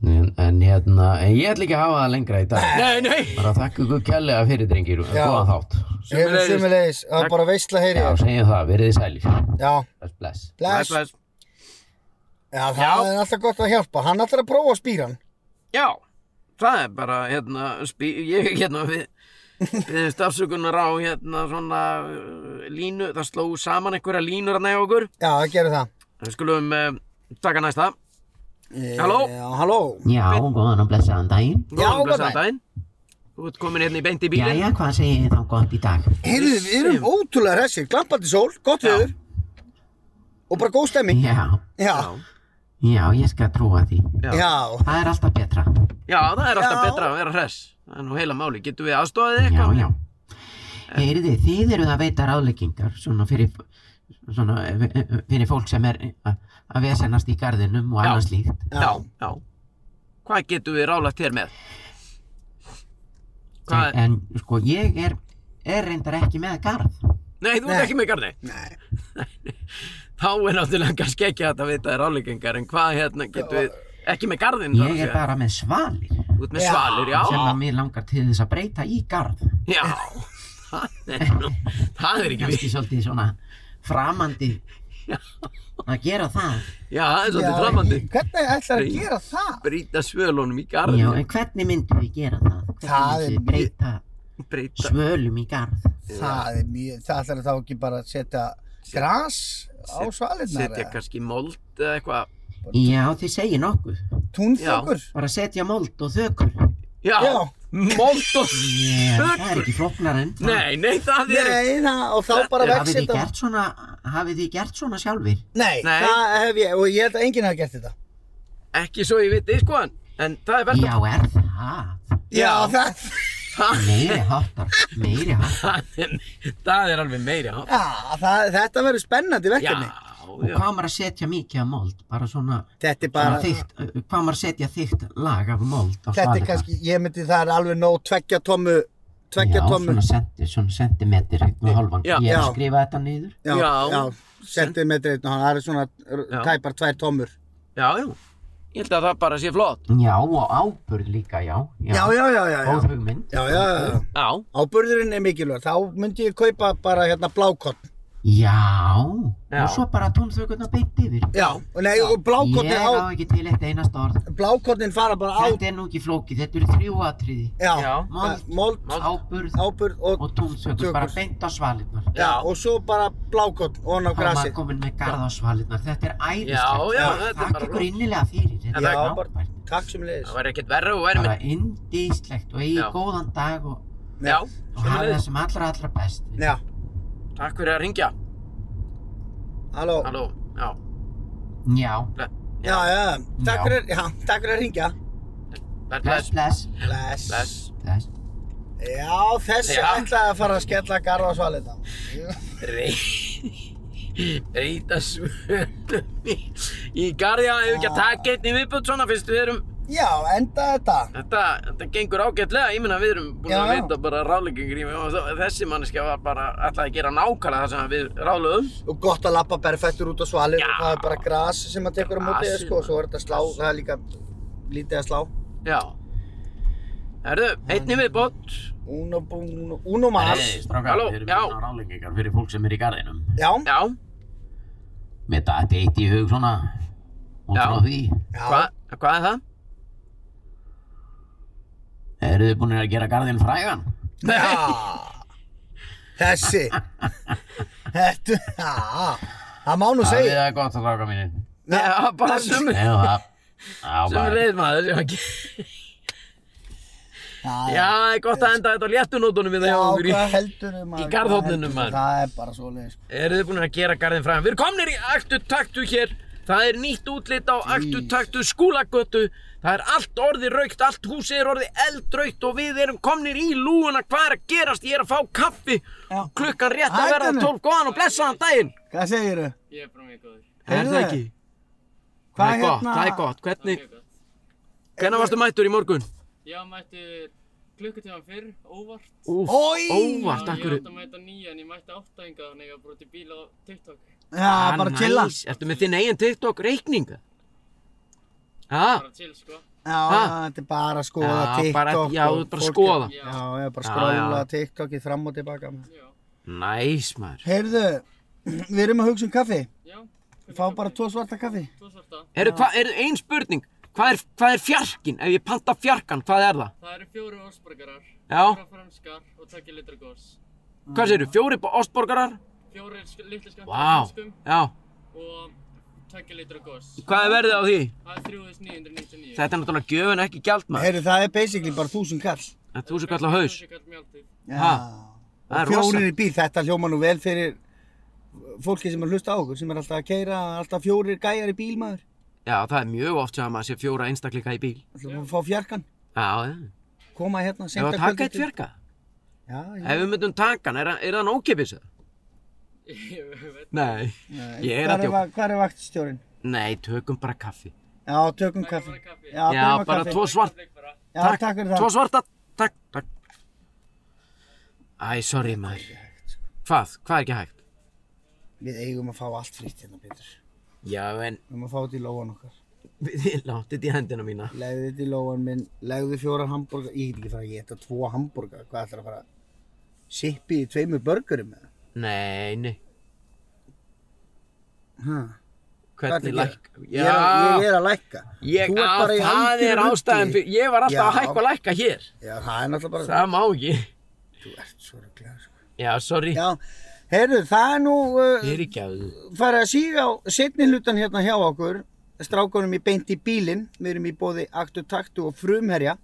S4: en, en hérna en ég ætla ekki að hafa það lengra í dag
S2: Nei, nei.
S4: bara þakka ykkur kærlega fyrir drengir og
S1: Já.
S4: góðan þátt
S2: Sömuleiðis.
S1: Sumulegis, það er bara veistla heyri.
S4: Já, segjum það, verið sælir
S1: Já,
S4: Bless, bless
S1: bless.
S2: Bless, bless.
S1: Já, það
S2: Já.
S1: er alltaf gott að hjálpa. Hann ætlar að prófa spýran.
S2: Já, það er bara, hérna, spí, ég, hérna, við, við stafsökunar á, hérna, svona uh, línu, það sló saman einhverja línur að næja okkur.
S1: Já, það gerir það.
S2: Við skulum uh, taka næsta.
S1: E,
S2: Halló?
S1: Já, halló.
S4: Já, góðan og blessaðan daginn
S1: Já,
S2: Góðan og
S1: góðan
S2: blessaðan daginn. Þú ert komin hérna í beint í bílinn.
S4: Jæja, hvað segir þið þá gott í dag?
S1: Heyrðu, við erum ótrúlega hressir. Glampandi sól, gott
S2: Já.
S1: viður. Og bara góð stemming.
S4: Já,
S1: Já,
S4: já, ég skal trúa því
S2: Já. Já.
S1: já.
S4: Það er alltaf betra
S2: Já, það er alltaf
S1: Já.
S2: betra að vera hress. Það er nú heila máli. Getum við aðstofað
S4: Já,
S2: eitthvað?
S4: já Heyrði, þið eruð að veita ráðleggingar svona fyrir, svona, eh, eh, fyrir fólk sem er eh, að að vesennast í garðinum og
S2: Já.
S4: annars líkt
S1: Já.
S2: Já, já. Hvað getum við ráðlagt þér með? Hvað?
S4: en sko ég er, er reyndar ekki með garð
S2: Nei, þú
S1: Nei.
S2: ert ekki með garni.
S1: Nei.
S2: Þá er náttúrulega kannski ekki hægt að vita þér ráðleggingar, en hvað hérna getum við... Ekki með garðin,
S4: ég er bara með svalir
S2: Þú ert með
S1: Já.
S2: svalir, já.
S4: sem að mér langar til þess að breyta í garð
S2: Já. Það er, nú, það er ekki við.
S4: kannski svolítið svona framandi
S2: Já.
S4: að gera það
S2: Já, það er
S1: Já,
S2: svolítið framandi.
S1: ég- Hvernig ætlar að
S2: Nei.
S1: gera það?
S2: Brýta svölunum í
S4: já,
S2: garðin.
S4: en hvernig myndum við gera það hvernig
S1: Það
S4: myndum
S1: er
S4: við breyta
S2: Brýta.
S4: svölum í garð
S1: Það er mjög, það ætlar þá ekki bara að setja gras á svalirnar.
S2: Setja
S1: eða?
S2: kannski mold eða eitthvað.
S4: Já, þið segir nokkuð.
S1: Túnþökkur?
S4: Bara setja mold og þökur.
S2: Já,
S1: Já.
S2: mold og...
S4: Yeah, það er
S2: Þökkur?
S4: ekki flóknar en það.
S2: Nei, nei, það er...
S1: Nei, það, og þá bara vex
S4: Hafið þið
S1: þetta.
S4: gert svona, hafið þið gert svona sjálfir?
S1: Nei,
S2: Nei.
S1: það hef ég, og ég held að enginn hafi gert þetta.
S2: Ekki svo ég viti, sko hann. En það er verður...
S4: Já, er það?
S1: Já, það,
S4: Meiri háttar, meiri háttar.
S2: það er alveg meiri hátt.
S1: já, það, þetta verður spennandi
S2: Já,
S1: verkefni.
S4: Og
S2: já.
S4: hvað á maður að setja mikið af mold? Bara svona,
S1: Þetta er
S4: svona
S1: bara,
S4: þykkt, uh, hvað á maður að setja þykkt lag af mold á
S1: þetta er
S4: svalirnar?
S1: kannski, ég myndi það er alveg nóg tveggja tómu, tveggja
S4: Já,
S1: tómu.
S4: svona, senti, svona sentimetri, einn og halvan.
S2: Já.
S4: Ég er
S1: Já.
S4: að skrifa þetta niður.
S1: Já,
S2: Já.
S1: já, sentimetri einn og hann, það er svona
S2: Já.
S1: r- tæpar tvær tómur.
S2: Já, já. Ég held að það bara sé flott.
S4: Já, og áburð líka, já.
S1: Já, já, já, já,
S4: Góð
S1: já.
S4: hugmynd.
S1: Já, já, já, já.
S2: Já,
S1: Áburðurinn er mikilvæg, þá myndi ég kaupa bara hérna blákott.
S4: Já,
S2: Já.
S4: og svo bara tónþökurna beint yfir.
S1: Já, og nei, og blákottinn
S4: Ég
S1: á,
S4: á ekki til eitt einast orð.
S1: blákottinn fara bara á,
S4: Þetta er nú ekki flókið, þetta eru þrjú atriði.
S2: já.
S1: já,
S4: Mold,
S1: mold,
S2: Mold.
S4: áburð
S1: áburð og,
S4: og tónþökur,
S1: Tökur.
S4: bara beint á svalinnar.
S1: já, og svo bara blákott ofan á
S4: Þá er maður
S1: grasi.
S4: komin með garð á svalinnar, þetta er
S2: Já,
S4: æðislegt.
S2: já,
S1: Já,
S2: þetta er
S4: Takk
S2: bara
S4: ykkur
S2: flott.
S4: innilega fyrir, þetta
S1: Já,
S4: er
S1: bara-
S4: náttúrulega.
S1: Takk sem leiðis.
S2: Það væri ekkert verra og verið
S4: Bara
S2: minn.
S4: indíslegt og
S2: Já.
S4: eigi góðan dag og,
S2: Já,
S4: og hafa
S2: sömuleiðis.
S4: það sem allra, allra best.
S1: Já,
S2: Takk fyrir að ringja.
S1: halló.
S2: Halló, já.
S4: Já,
S1: Já, já, takk
S4: Já.
S1: fyrir, já, takk fyrir að ringja.
S2: Bless, bless,
S4: bless, bless,
S1: Bless.
S2: bless.
S4: bless.
S1: Já, þessi
S2: Já.
S1: ætlaði að fara að skella garfa svalita.
S2: Rey- Reyta svöldum í, í garði að hefur ekki að taka einn í viðbútt svona fyrst við erum
S1: Já, enda þetta.
S2: þetta, þetta gengur ágætlega, ég meina við erum búin að
S1: Já, já.
S2: veita bara ráðleggingur í mig og þó- þessi manneskja var bara alltaf að gera nákvæmlega það sem við ráðlegum
S1: Og gott að lappa berfættur út á svalir
S2: Já.
S1: og það er bara gras sem að tekur á móti þér,
S2: Grasið,
S1: sko.
S2: maður.
S1: Svo er þetta slá, það er líka lítið að slá.
S2: Já Herðu, einni viðbútt
S1: Uno, uno, uno mas.
S2: Nei. Halló, já.
S4: rálingingar hérna fyrir fólk sem er í garðinum.
S1: Já,
S2: Já,
S4: Mér dætti eitt í hug svona, út
S2: Já.
S4: frá því.
S1: já.
S2: hvað hva er það?
S4: Eru þið búin að gera garðin frægan?
S1: Já. Þessi. Þetta, já. Það má nú
S4: Hafið
S1: segja.
S4: það gott að ráka mínir.
S2: Nei, bara sömu
S4: Eða það. Já,
S2: Sömu
S4: bara.
S2: leið maður sem ekki
S1: Já,
S2: Já, það er gott að enda þetta á léttunótunum við það
S1: Já,
S2: hjá okkur í
S1: hvað heldurum maður?
S2: í garðhorninu,
S1: Hvað heldurðu?
S2: maður?
S1: Það er bara svoleiðis. sko.
S2: Eru þið búin að gera garðin fræðan? Við erum komnir í aktu taktu hér. Það er nýtt útlit á aktu taktu skúlagötu. Það er allt orðið raukt, allt húsið er orðið eldraukt og við erum komnir í lúuna. Hvað er að gerast? Ég er að fá kaffi.
S1: Já.
S2: Klukkan rétt að verða
S1: Hættu nú.
S2: 12. Góðan og blessaðan daginn.
S1: Hvað segiru?
S3: Ég er bara mjög góður.
S1: Er það ekki?
S2: Það er
S1: hérna-
S2: gott, það er gott. Hvernig,
S3: gott.
S2: hvernig varstu mættur í morgun?
S3: Ég var mættur klukkutíma fyrr, óvart.
S2: Úf,
S1: Oj!
S2: óvart, akkur.
S3: að mæta nýja en ég mætti átta enga þannig að ég var brotið bíl á TikTok.
S1: Já, bara chilla.
S2: Ah, Ertu með þinn eigin TikTok reikninga? Já,
S3: chill sko.
S1: Já,
S2: Ha?
S1: þetta er bara að skoða
S2: Já,
S1: TikTok.
S2: bara-
S1: og
S2: já, þú ert bara að
S1: fólk-
S2: skoða.
S1: Já, ég er bara að
S2: Já,
S1: skróla
S2: já.
S1: TikTokið fram og tilbaka. maður.
S2: næs maður.
S1: Heyrðu, við erum að hugsa um kaffi.
S3: Já,
S1: Fá bara tvo svarta kaffi.
S3: tvo svarta.
S2: Eru, hva, eru ein spurning, hvað er, hvað er fjarkinn? Ef ég panta fjarkann, hvað er það?
S3: Það eru fjóru orsborgarar,
S2: Já.
S3: fjóra franskar og tvekki litra gós.
S2: Hvað séru, fjóri ostborgarar?
S3: Fjórir sk- litli skammt
S2: Vá, já.
S3: og tvekki litra gós.
S2: Hvað er verðið á því?
S3: Það er 3999.
S2: Þetta er náttúrulega gjöfun ekki gjald maður.
S1: Heyrðu, það er basically bara þúsund kall.
S2: Þetta er þú sem kallar haus.
S3: Þetta er mjáltið.
S1: Já.
S2: Ha? Það
S1: Og
S2: er rosa.
S1: Fjórir í bíl, þetta hljóma nú vel fyrir fólki sem er að hlusta á okkur, sem er alltaf að keira, alltaf fjórir gæjar í bíl, maður.
S2: Já, það er mjög oft sem að maður sé fjóra einstakleika í bíl.
S1: Það er að fá fjarkan,
S2: Já, já.
S1: koma hérna,
S2: Ef
S1: senda
S2: að taka eitt fjarka.
S1: Já, já.
S2: Ef við myndum taka hann, er, hann- er hann ókipis eða? Nei. Ég er
S1: Hvar
S2: að djóka.
S1: va- Hvar er vaktstjórinn?
S2: Nei, tökum bara kaffi.
S1: Já, tökum kaffi. Já,
S2: Já,
S1: byrjum á
S2: bara
S1: kaffi.
S2: tvo svart.
S1: Já, takk fyrir
S2: Tvo
S1: það.
S2: svarta. Takk, takk. Æ, sorry maður.
S1: sko.
S2: Hvað? Hvað er ekki hægt?
S1: Við eigum að fá allt frýtt hérna, Pétur.
S2: Já, en
S1: Við eigum að fá þetta í lóan okkar.
S2: við látið þetta í hendina mína.
S1: Legðu þetta í lóan minn, legðu fjóra hambúrgar. Ég get ekki fara að geta tvo hambúrgar. Hvað ætlar að fara? Sippi í tveimur börgurum eða?
S2: Nei, nei.
S1: Ha, hvað ertu
S2: Hvernig
S1: að
S2: læk?
S1: gera? Ég er að- Ég er að lækka.
S2: Ég,
S1: Þú ert
S2: á,
S1: bara í
S2: það
S1: algjöru
S2: er
S1: rugli.
S2: ástæðan fyrir, ég var alltaf að
S1: Já.
S2: hækka og lækka hér.
S1: Já, það er náttúrulega bara...
S2: Það má ekki.
S1: Þú ert svo röglega, sko.
S2: Já, sorry,
S1: Já, heyrðu, það er nú... Uh,
S2: fyrirgjáðu.
S1: farið að síga á setni hlutan hérna hjá okkur strákunum í beint í bílinn. Við erum í bóði Aktu Taktu og Frumherja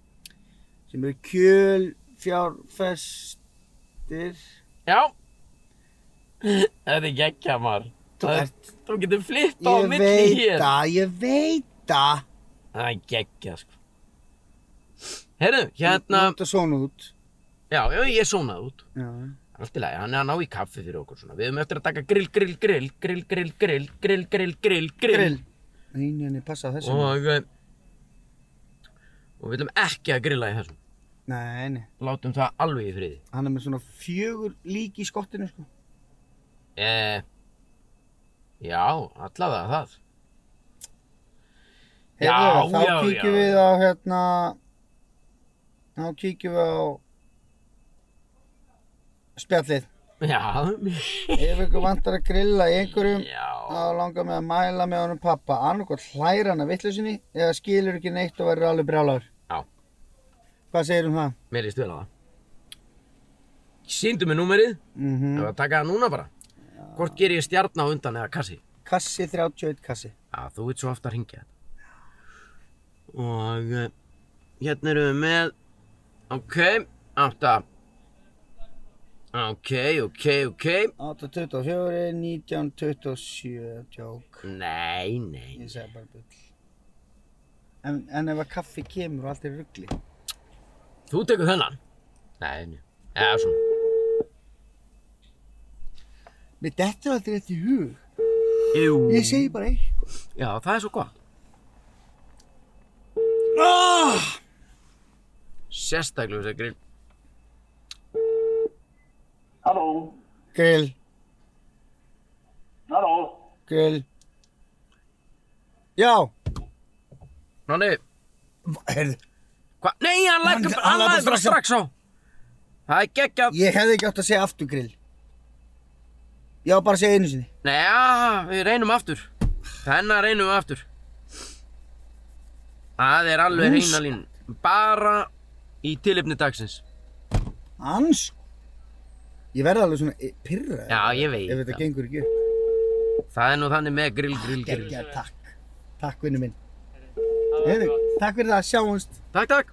S1: sem eru kjölfjárfestir.
S2: Já Þetta er geggja maður
S1: Þú
S2: Það-
S1: ert-
S2: Þú getur flytt á
S1: Ég
S2: milli
S1: veit
S2: hér
S1: það, ég veit það.
S2: Það er geggja sko Herru, hérna
S1: Þetta svona út.
S2: Já, já, ég sónaði út
S1: Já.
S2: Allt í lagi, hann er að ná í kaffi fyrir okkur svona Við höfum eftir að taka grill, grill, grill, grill, grill, grill, grill, grill, grill, grill
S1: Grill. Nei, nei, nei, passa þessu.
S2: Og eh, Og við viljum ekki að grilla í þessum
S1: Nei, nei.
S2: Látum það alveg í friði
S1: Hann er með svona fjögur lík í skottinu, sko.
S2: eh, Já, allavega það
S1: Heyrðu,
S2: Já, já,
S1: Þá kíkjum
S2: já.
S1: við á, hérna, þá kíkjum við á spjallið.
S2: Já,
S1: Ef ykkur vantar að grilla í einhverjum,
S2: já
S1: þá langar mig að mæla með honum pappa. Annarkot hlæra hann að vittlusinni eða skilur ekki neitt og verður alveg brjálagur.
S2: Já.
S1: Hvað segir um það?
S2: Mér líst vel á það Sýndu mér númerið
S1: Mm
S2: Ef að taka það núna bara Hvort ger ég stjarn á undan eða kassi
S1: Kassi 31 kassi.
S2: Já, þú ert svo aftur að hringja þetta Og eh, Hérna erum við með Ok, átta Ok, ok, ok
S1: 824, 1927, tjók.
S2: Nei, nei
S1: Ég segi bara bull. En, en ef að kaffi kemur og allt er í rugli.
S2: Þú tekur þennan Nei, nei Já, svona
S1: Mér dettur aldrei þetta í hug.
S2: Jú
S1: Ég segi bara eitthvað.
S2: Já, það er svo gott
S1: Oh!
S2: Ah! Sérstaklega þess að grill
S5: Halló,
S1: Grill,
S5: halló,
S1: grill. Já.
S2: Nonni
S1: Heyrðu,
S2: Hva? Nei, hann lækka
S1: Hann- hann
S2: Hann, hann
S1: lagði
S2: lagði bara
S1: strax
S2: strax á Það er geggjað
S1: ég hefði ekki átt að segja aftur grill. Já, bara að segja einu sinni.
S2: Nei, já, við reynum aftur Þennan reynum við aftur Það er alveg reyna lín Bara í tilefni dagsins
S1: Hans. Ég verði alveg svona pyrra.
S2: Já, ég veit
S1: Ef þetta
S2: það.
S1: gengur ekki upp.
S2: Það er nú þannig með grill, grill, grill
S1: Gekkja, takk. Takk, vinnu minn.
S3: Það var
S1: Heyrðu,
S3: gott.
S1: takk fyrir það, sjáumst.
S2: Takk, takk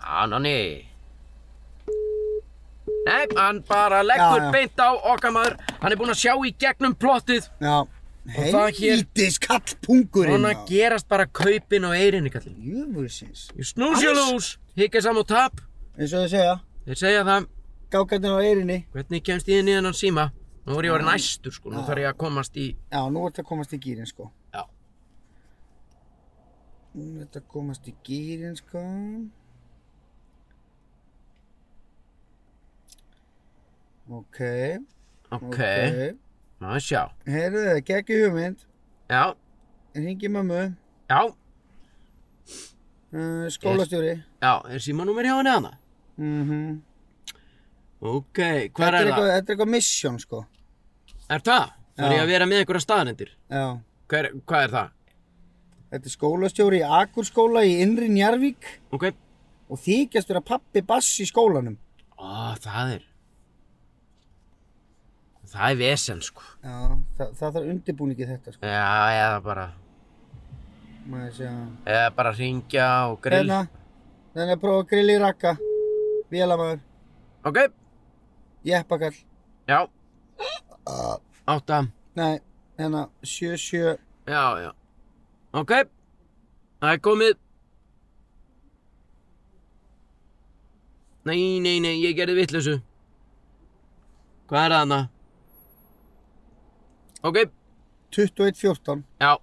S2: Já, nonni Nei, hann bara leggur
S1: Já, já.
S2: beint á okkar maður Hann er búinn að sjá í gegnum plottið
S1: Já.
S2: það hér-
S1: Helvítis kallpungurinn.
S2: Hann gerast bara kaupin og eirinni kallinn
S1: Jöfusins.
S2: Ég snúsja lús, higgja saman og tap
S1: Eins og þau segja,
S2: Þeir segja það
S1: gákarnir á eyrinni.
S2: Hvernig kemst ég inn í þennan síma? Nú er ég orðin æstur sko, nú þarf ég að komast í...
S1: Já, nú ert að komast í gýrin, sko.
S2: Já.
S1: Nú ert að komast í gýrin, sko. Ok, ok.
S2: Ok, okay. maður sjá.
S1: Heyrðu þið, geggjum hugmynd.
S2: Já,
S1: Ringi mömmu,
S2: já,
S1: uh, skólastjóri.
S2: já, er símanúmer hjá henni hana?
S1: Mhm.
S2: Ok,
S1: Þetta
S2: hver er
S1: eitthvað-
S2: það?
S1: Þetta er eitthvað misjón, sko.
S2: Er það? Þarf
S1: Já.
S2: ég að vera með einhverja staðarendir?
S1: Já.
S2: Hver, hvað er það?
S1: Þetta er skólastjóri í Akurskóla í Innri Njarvík
S2: Ok.
S1: og þykjast vera pappi bass í skólanum.
S2: Ó, það er... Það er vesen sko.
S1: Já, það, það þarf undirbúningi þetta, sko.
S2: Já, eða bara,
S1: Maður sé að...
S2: eða bara ringja og grill.
S1: Hérna, hérna að prófa að grilla í rakka. Vélamöður,
S2: Ok,
S1: jeppakall.
S2: já. Átta.
S1: Nei, hérna, 77.
S2: Já, já. Ok, það er komið. Nei, nei, nei, ég gerði vitlausu. Hvað er það hana? Ok,
S1: 21, 14.
S2: já.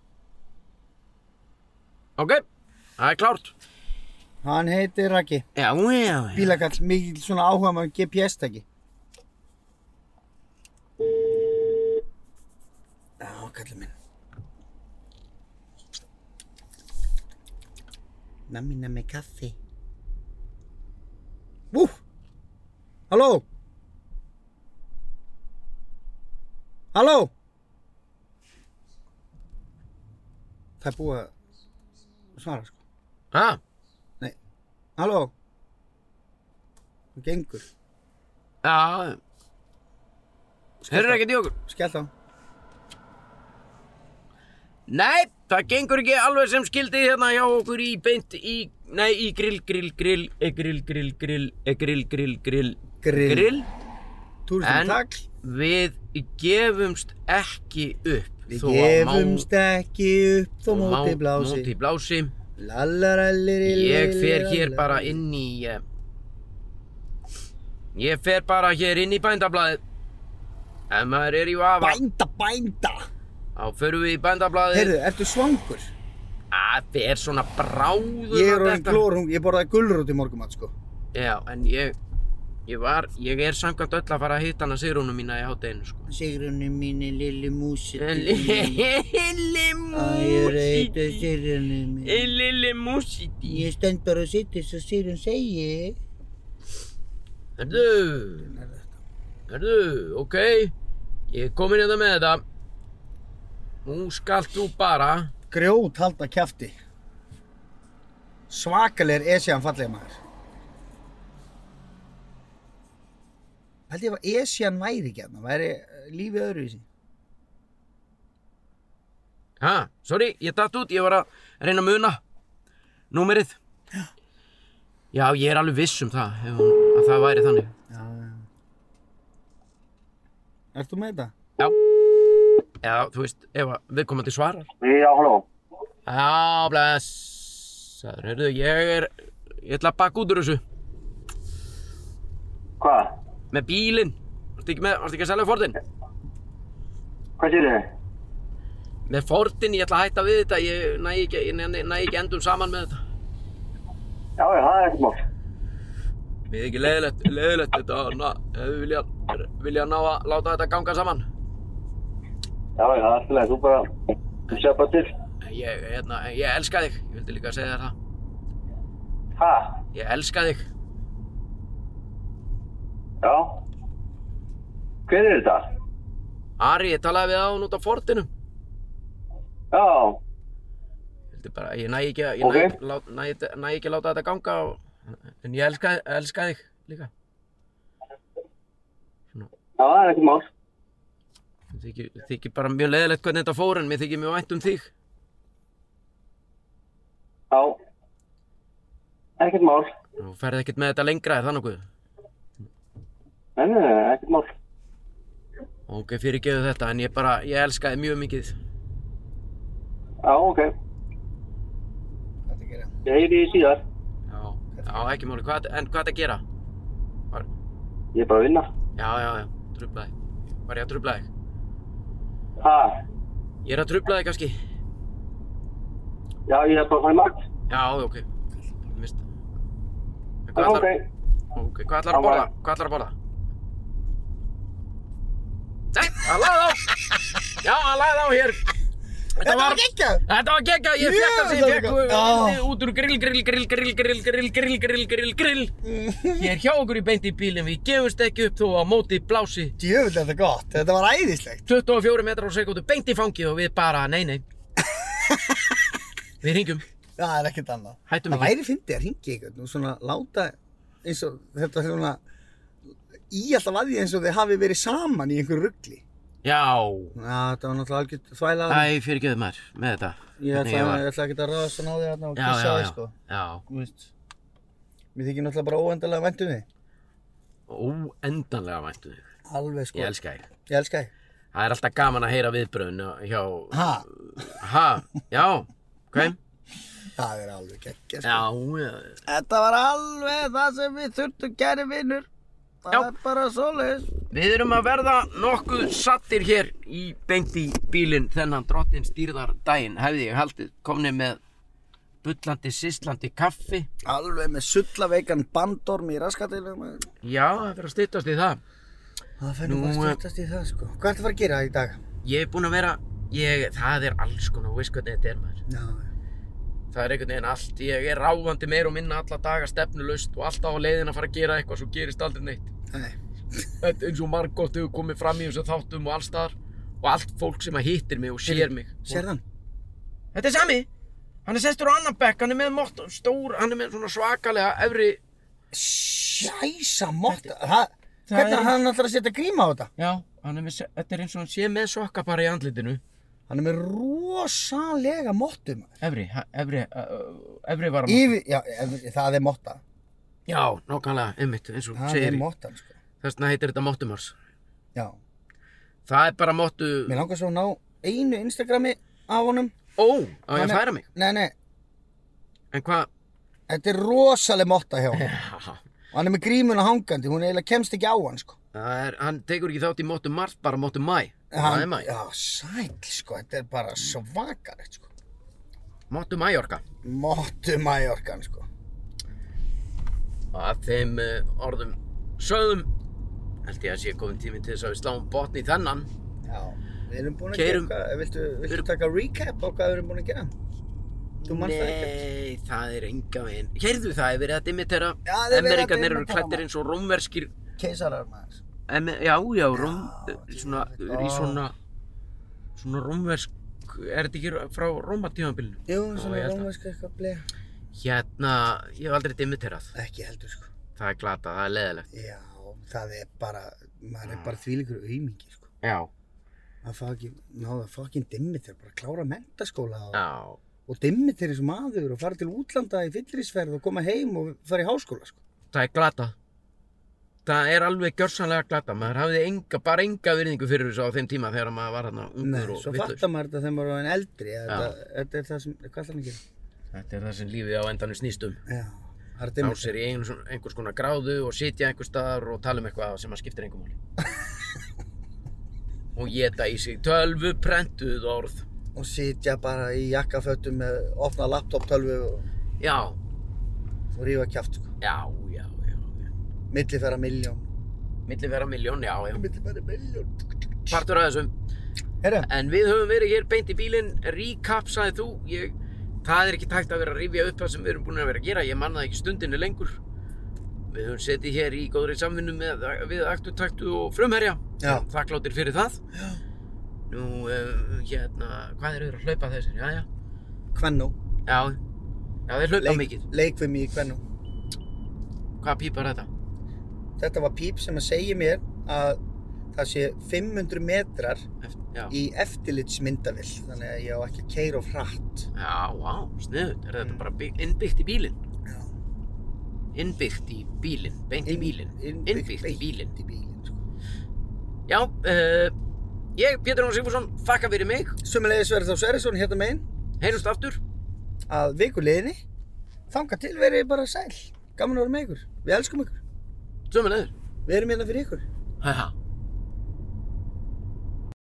S2: Ok, það er klárt.
S1: Hann heitir Raki,
S2: Já, já, já.
S1: bílakall, mikil svona áhuga maður GPS-tæki. Já, kallið minn. Nammi, nammi, kaffi. Vú! Halló? Halló? Það er búið að svara, sko.
S2: Ha?
S1: Halló? Það gengur.
S2: Já. Hörru ekkert í okkur?
S1: Skellt á.
S2: Nei, Það gengur ekki alveg sem skildi hérna hjá okkur í beint í, nei, í grill, grill, grill, e grill, grill, grill, e grill, grill, grill,
S1: Grill.
S2: grill. En
S1: Túristum takk.
S2: við gefumst ekki upp
S1: Við
S2: þó að
S1: gefumst ekki upp þó
S2: má-
S1: móti blási.
S2: Móti blási.
S1: Lallaralliri.
S2: Ég fer hér bara inn í, eh, ég fer bara hér inn í bændablaðið. Ef maður er í vafa,
S1: Bænda, bænda.
S2: þá förum við í bændablaðið.
S1: Heyrðu, ertu svangur?
S2: Það er svona bráður
S1: Ég er
S2: að
S1: orðin
S2: detta.
S1: glórung, ég borðaði gulrót í morgumat sko.
S2: Já, en ég, ég var, ég er samkvæmt öll að fara að hitta hana Sigrúnu mína í hátteginu, sko.
S1: Sigrunni mínu lilli músi.
S2: En Lilli músiti,
S1: sigrunni mínu.
S2: lilli músiti.
S1: stend bara og sittir svo Sigrun segir.
S2: Hörðu, hörðu, ok, ég er komin hérna með þetta. Nú skalt þú bara,
S1: Grjót halda kjafti. Svakalegir Esjan fallega maður. Held ég að Esjan væri ekki hérna, væri eh, lífið öðruvísi.
S2: ha, sorry, ég datt út, ég var að reyna að muna númerið. Já, ég er alveg viss um það, ef hún, að það væri þannig.
S1: Já, já. Ert þú með þetta?
S2: Já, já, þú veist, ef að viðkomandi svarar.
S5: Já, halló.
S2: Já, blessaður, heyrðu, ég er, ég ætla að baka út úr þessu,
S5: Hvað?
S2: með bílinn, varstu ekki með, varstu ekki að selja Fordin?
S5: Hvað sér þið?
S2: Með Fordin, ég ætla að hætta við þetta, ég næ ekki, ég næ, næ ekki endum saman með þetta.
S5: Já, já, það er ekkert mál.
S2: Við ekki leiðilegt, leiðilegt þetta, na, ef við vilja, vilja ná að láta þetta ganga saman.
S5: Já, já, það er alltaf leið. Þú bara, þú sé bara til.
S2: Ég, hérna, ég elska þig, ég vildi líka að segja þér það,
S5: Hæ?
S2: ég elska þig.
S5: Já. Hver er þetta?
S2: Ari, ég talaði við á hún út á Fordinum,
S5: Já,
S2: ég vildi bara, ég næ ekki, að- ég næ,
S5: Ok.
S2: okay. lá, næ, næ, næ ekki að láta þetta ganga og, en ég elska, elska þig líka.
S5: já, það er ekkert mál.
S2: Mér þykir, þykir bara mjög leðilegt hvernig þetta fór en mér þykir mjög vænt um þig.
S5: Já. Ekkert mál.
S2: Þú ferð ekkert með þetta lengra, er það nokkuð?
S5: Nei, nei, nei, ekkert mál.
S2: Ok, fyrirgeðu þetta, en ég bara, ég elska þið mjög mikið.
S5: Já, ok.
S1: Hvað ertu að gera?
S5: Ég heyri því síðar.
S2: Já. Já, ekki máli, hvað, en hvað það gera? Var,
S5: Ég er bara að vinna.
S2: já, já, já, trubla þig. Var ég að trubla þig?
S5: Hæ?
S2: Ég er að trubla þig kannski.
S5: Já, ég er bara að fara í makt.
S2: Já, ok. Mist. En
S5: Já,
S2: hvað
S5: ok.
S2: ætlar, ok, hvað ætlar
S5: Já,
S2: að borða?
S5: bara-
S2: Hvað ætlar að borða? Nei, hann lagði á. Já, hann lagði á hér. Þetta
S1: Þetta var geggjað!
S2: Þetta var gegga, ég
S1: Mjög
S2: fekk það sem
S1: það
S2: ég fekk
S1: var gegga.
S2: uh, út úr grill, grill, grill, grill, grill, grill, grill, grill, grill, grill
S1: Mm.
S2: Ég er hjá okkur í beint í bílinn, við gefumst ekki upp þó að móti blási
S1: Djöfull er þetta gott, þetta var æðislegt.
S2: 24 metrar á sekundu beint í fangið og við bara, nei, nei Við ringjum,
S1: Það er ekkert annað.
S2: Hættum
S1: það
S2: ekki.
S1: væri fyndið að ringi einhvern og svona láta eins og þetta svona í alltaf að því eins og þið hafi verið saman í einhverju ruggli.
S2: já
S1: Já, þetta var náttúrulega algjört þvæla.
S2: Æ, fyrirgeðu maður með þetta
S1: Ég
S2: Hvernig
S1: ætla,
S2: var.
S1: ég ætla ekki að ráðast að ná þér hérna og
S2: Já,
S1: kissa
S2: já,
S1: þig
S2: já,
S1: sko.
S2: já
S1: Þú veist, mér þykir náttúrulega bara óendalega væntum þig.
S2: Óendanlega væntu þig,
S1: Alveg sko.
S2: ég elska þig
S1: Ég elska þig.
S2: Það er alltaf gaman að heyra viðbröðun hjá
S1: Ha,
S2: Ha, já, ok
S1: það er alveg geggja sko.
S2: Já, já,
S1: Þetta var alveg það sem við þurftum kæri vinnur. Það
S2: Já.
S1: er bara svoleiðis.
S2: Við erum að verða nokkuð sattir hér í beint í bílinn þennan drottin stýrðar daginn hefði ég haldið komni með bullandi, sýslandi kaffi
S1: Alveg með sullaveikan bandorm í raskatilum. maður.
S2: Já, það fyrir að styttast í það
S1: Það fer
S2: Nú,
S1: nú bara
S2: eh,
S1: stjórnast í það sko. Hvað ertu að fara að gera í dag?
S2: Ég er búinn að vera, ég, það er alls konar, þú veist hvernig þetta er maður
S1: Já,
S2: Það er einhvern veginn allt, ég er ráfandi meir og minna alla daga stefnulaust og alltaf á leiðin að fara að gera eitthvað svo gerist aldrei neitt
S1: nei.
S2: Þetta er eins og margótt hefur komið fram í þessu þáttum og allstaðar og allt fólk sem að hittir mig og sér mig
S1: Sérðan?
S2: Þetta er sami Hann er sestur á annan bekk, hann er með mott, stór, hann er með svona svakalega efri
S1: Sjæsa mótt. Það, hvernig
S2: er-
S1: er hann alltaf að setja gríma á þetta?
S2: Já, hann er með, se- þetta er eins og hann sé með sokka bara í andlitinu
S1: Hann er með rosalega mottu maður.
S2: Efri, ha- efri, uh, efri var að...
S1: Yfir, já, ef- það er motta.
S2: Já, nákvæmlega, einmitt, eins og
S1: Það
S2: segir
S1: er
S2: í.
S1: mottan, sko.
S2: Þess vegna heitir þetta Mottumars.
S1: Já.
S2: Það er bara Mottu...
S1: Mér langar svo að ná einu Instagrami af honum.
S2: Ó, á
S1: Hann
S2: ég að
S1: er-
S2: færa mig.
S1: Nei, nei,
S2: En hvað...
S1: þetta er rosalega motta hjá honum.
S2: Já,
S1: Og hann er með grímuna hangandi, hún eiginlega kemst ekki á hann, sko.
S2: það er, hann tekur ekki þátt í Mottumars, bara Mottumæ. Það er
S1: Hann,
S2: mæ.
S1: já, sæl, sko, þetta er bara svakalegt, sko.
S2: Mottumæjorka.
S1: Mottu Mallorcan, sko.
S2: Og af þeim uh, orðum sögðum held ég að sé komin tími til þess að við sláum botn í þennan.
S1: Já, við erum búin að
S2: Keyrum-
S1: gera eitthvað, viltu, viltu
S2: Við-
S1: taka recap á hvað við erum búin að gera? Þú manst það ekki?
S2: Nei, það er enga veginn. Heyrðu það, er verið að dimitera.
S1: Já, það er verið að
S2: Ameríkanir eru
S1: dimmitera,
S2: klættir
S1: maður.
S2: eins og rómverskir,
S1: Keisarar maður.
S2: em, já, já, róm, eh,
S1: Já,
S2: svona,
S1: djöfull,
S2: í
S1: ó.
S2: svona, svona rómversk, er þetta ekki frá rómatífambilinu?
S1: Jú,
S2: Já,
S1: svona
S2: ég held það.
S1: rómverska eitthvað bleið.
S2: Hérna, ég hef aldrei dimiterað.
S1: Ekki heldur, sko.
S2: Það er glata, það er leðilegt.
S1: Já, það er bara, maður er bara þvílingur aumingi, sko.
S2: Já.
S1: Að fá ekki, náða, fá ekki dimmi þegar bara klára mentaskóla og,
S2: Já.
S1: og dimmi þegar eins og maður og fara til útlanda í fyllirísferð og koma heim og fara í háskóla, sko.
S2: Það er glata. Það er alveg gjörsanlega glata. Maður hafði enga, bara enga virðingu fyrir þessu á þeim tíma þegar maður var hérna
S1: Nei,
S2: ungur og
S1: svo
S2: vitlaus.
S1: fattar maður þetta þegar maður er orðinn eldri, að þetta, þetta er það sem, hvað ætlar hann að gera?
S2: Þetta er það sem lífið á endanum snýst um.
S1: Já, það er
S2: Ná
S1: dimmi.
S2: sér í ein, einhvers konar gráðu og sitja einhvers staðar og tala um eitthvað sem að skiptir engum máli. og geta í sig tölvu prentuð orð.
S1: og sitja bara í jakkafötum með opna laptop-tölvu og,
S2: Já,
S1: og rífa kjaft, sko.
S2: já, já, já. já.
S1: Millifæra miljón.
S2: Milli vera miljón, já, já.
S1: Millifæra miljón.
S2: Partur af þessum.
S1: Herra,
S2: En við höfum verið hér beint í bílinn, recap sagði þú, ég, það er ekki tækt að vera að rifja upp það sem við erum búin að vera að gera, ég manna það ekki stundinni lengur. Við höfum setið hér í góðri samvinnu með, við aktutaktu og frumherja,
S1: Já.
S2: þakkláttir fyrir það. Já. Nú, um, hérna, hvað eru þeir að hlaupa þessir, já, já,
S1: Kvennú.
S2: já, já, þeir hlaupa mikið,
S1: Leikvimi í Kvennú.
S2: hvað pípar þetta?
S1: Þetta var píp sem að segja mér að það sé 500 metrar
S2: Eftir, já,
S1: í eftirlitsmyndavill. Þannig að ég á ekki að keyra of hratt.
S2: já, vá, sniðut, er
S1: Mm.
S2: þetta bara bygg, innbyggt í bílinn?
S1: Já.
S2: Innbyggt í bílinn, beint í
S1: Inn-
S2: bílinn,
S1: Innbyggt
S2: innbyggt í bílinn.
S1: Í bílinn, sko.
S2: Já, uh, ég, Pétur Jón Sigfússon, þakka fyrir mig,
S1: Sumulegis verður þá Sverrisson hérna megin
S2: heyrjumst aftur.
S1: að vikuleginni. Þanga til verið þið bara sæl. Gaman að vera með ykkur. Við elskum ykkur.
S2: Sömmulegur.
S1: Við erum hérna fyrir ykkur.
S2: Haha.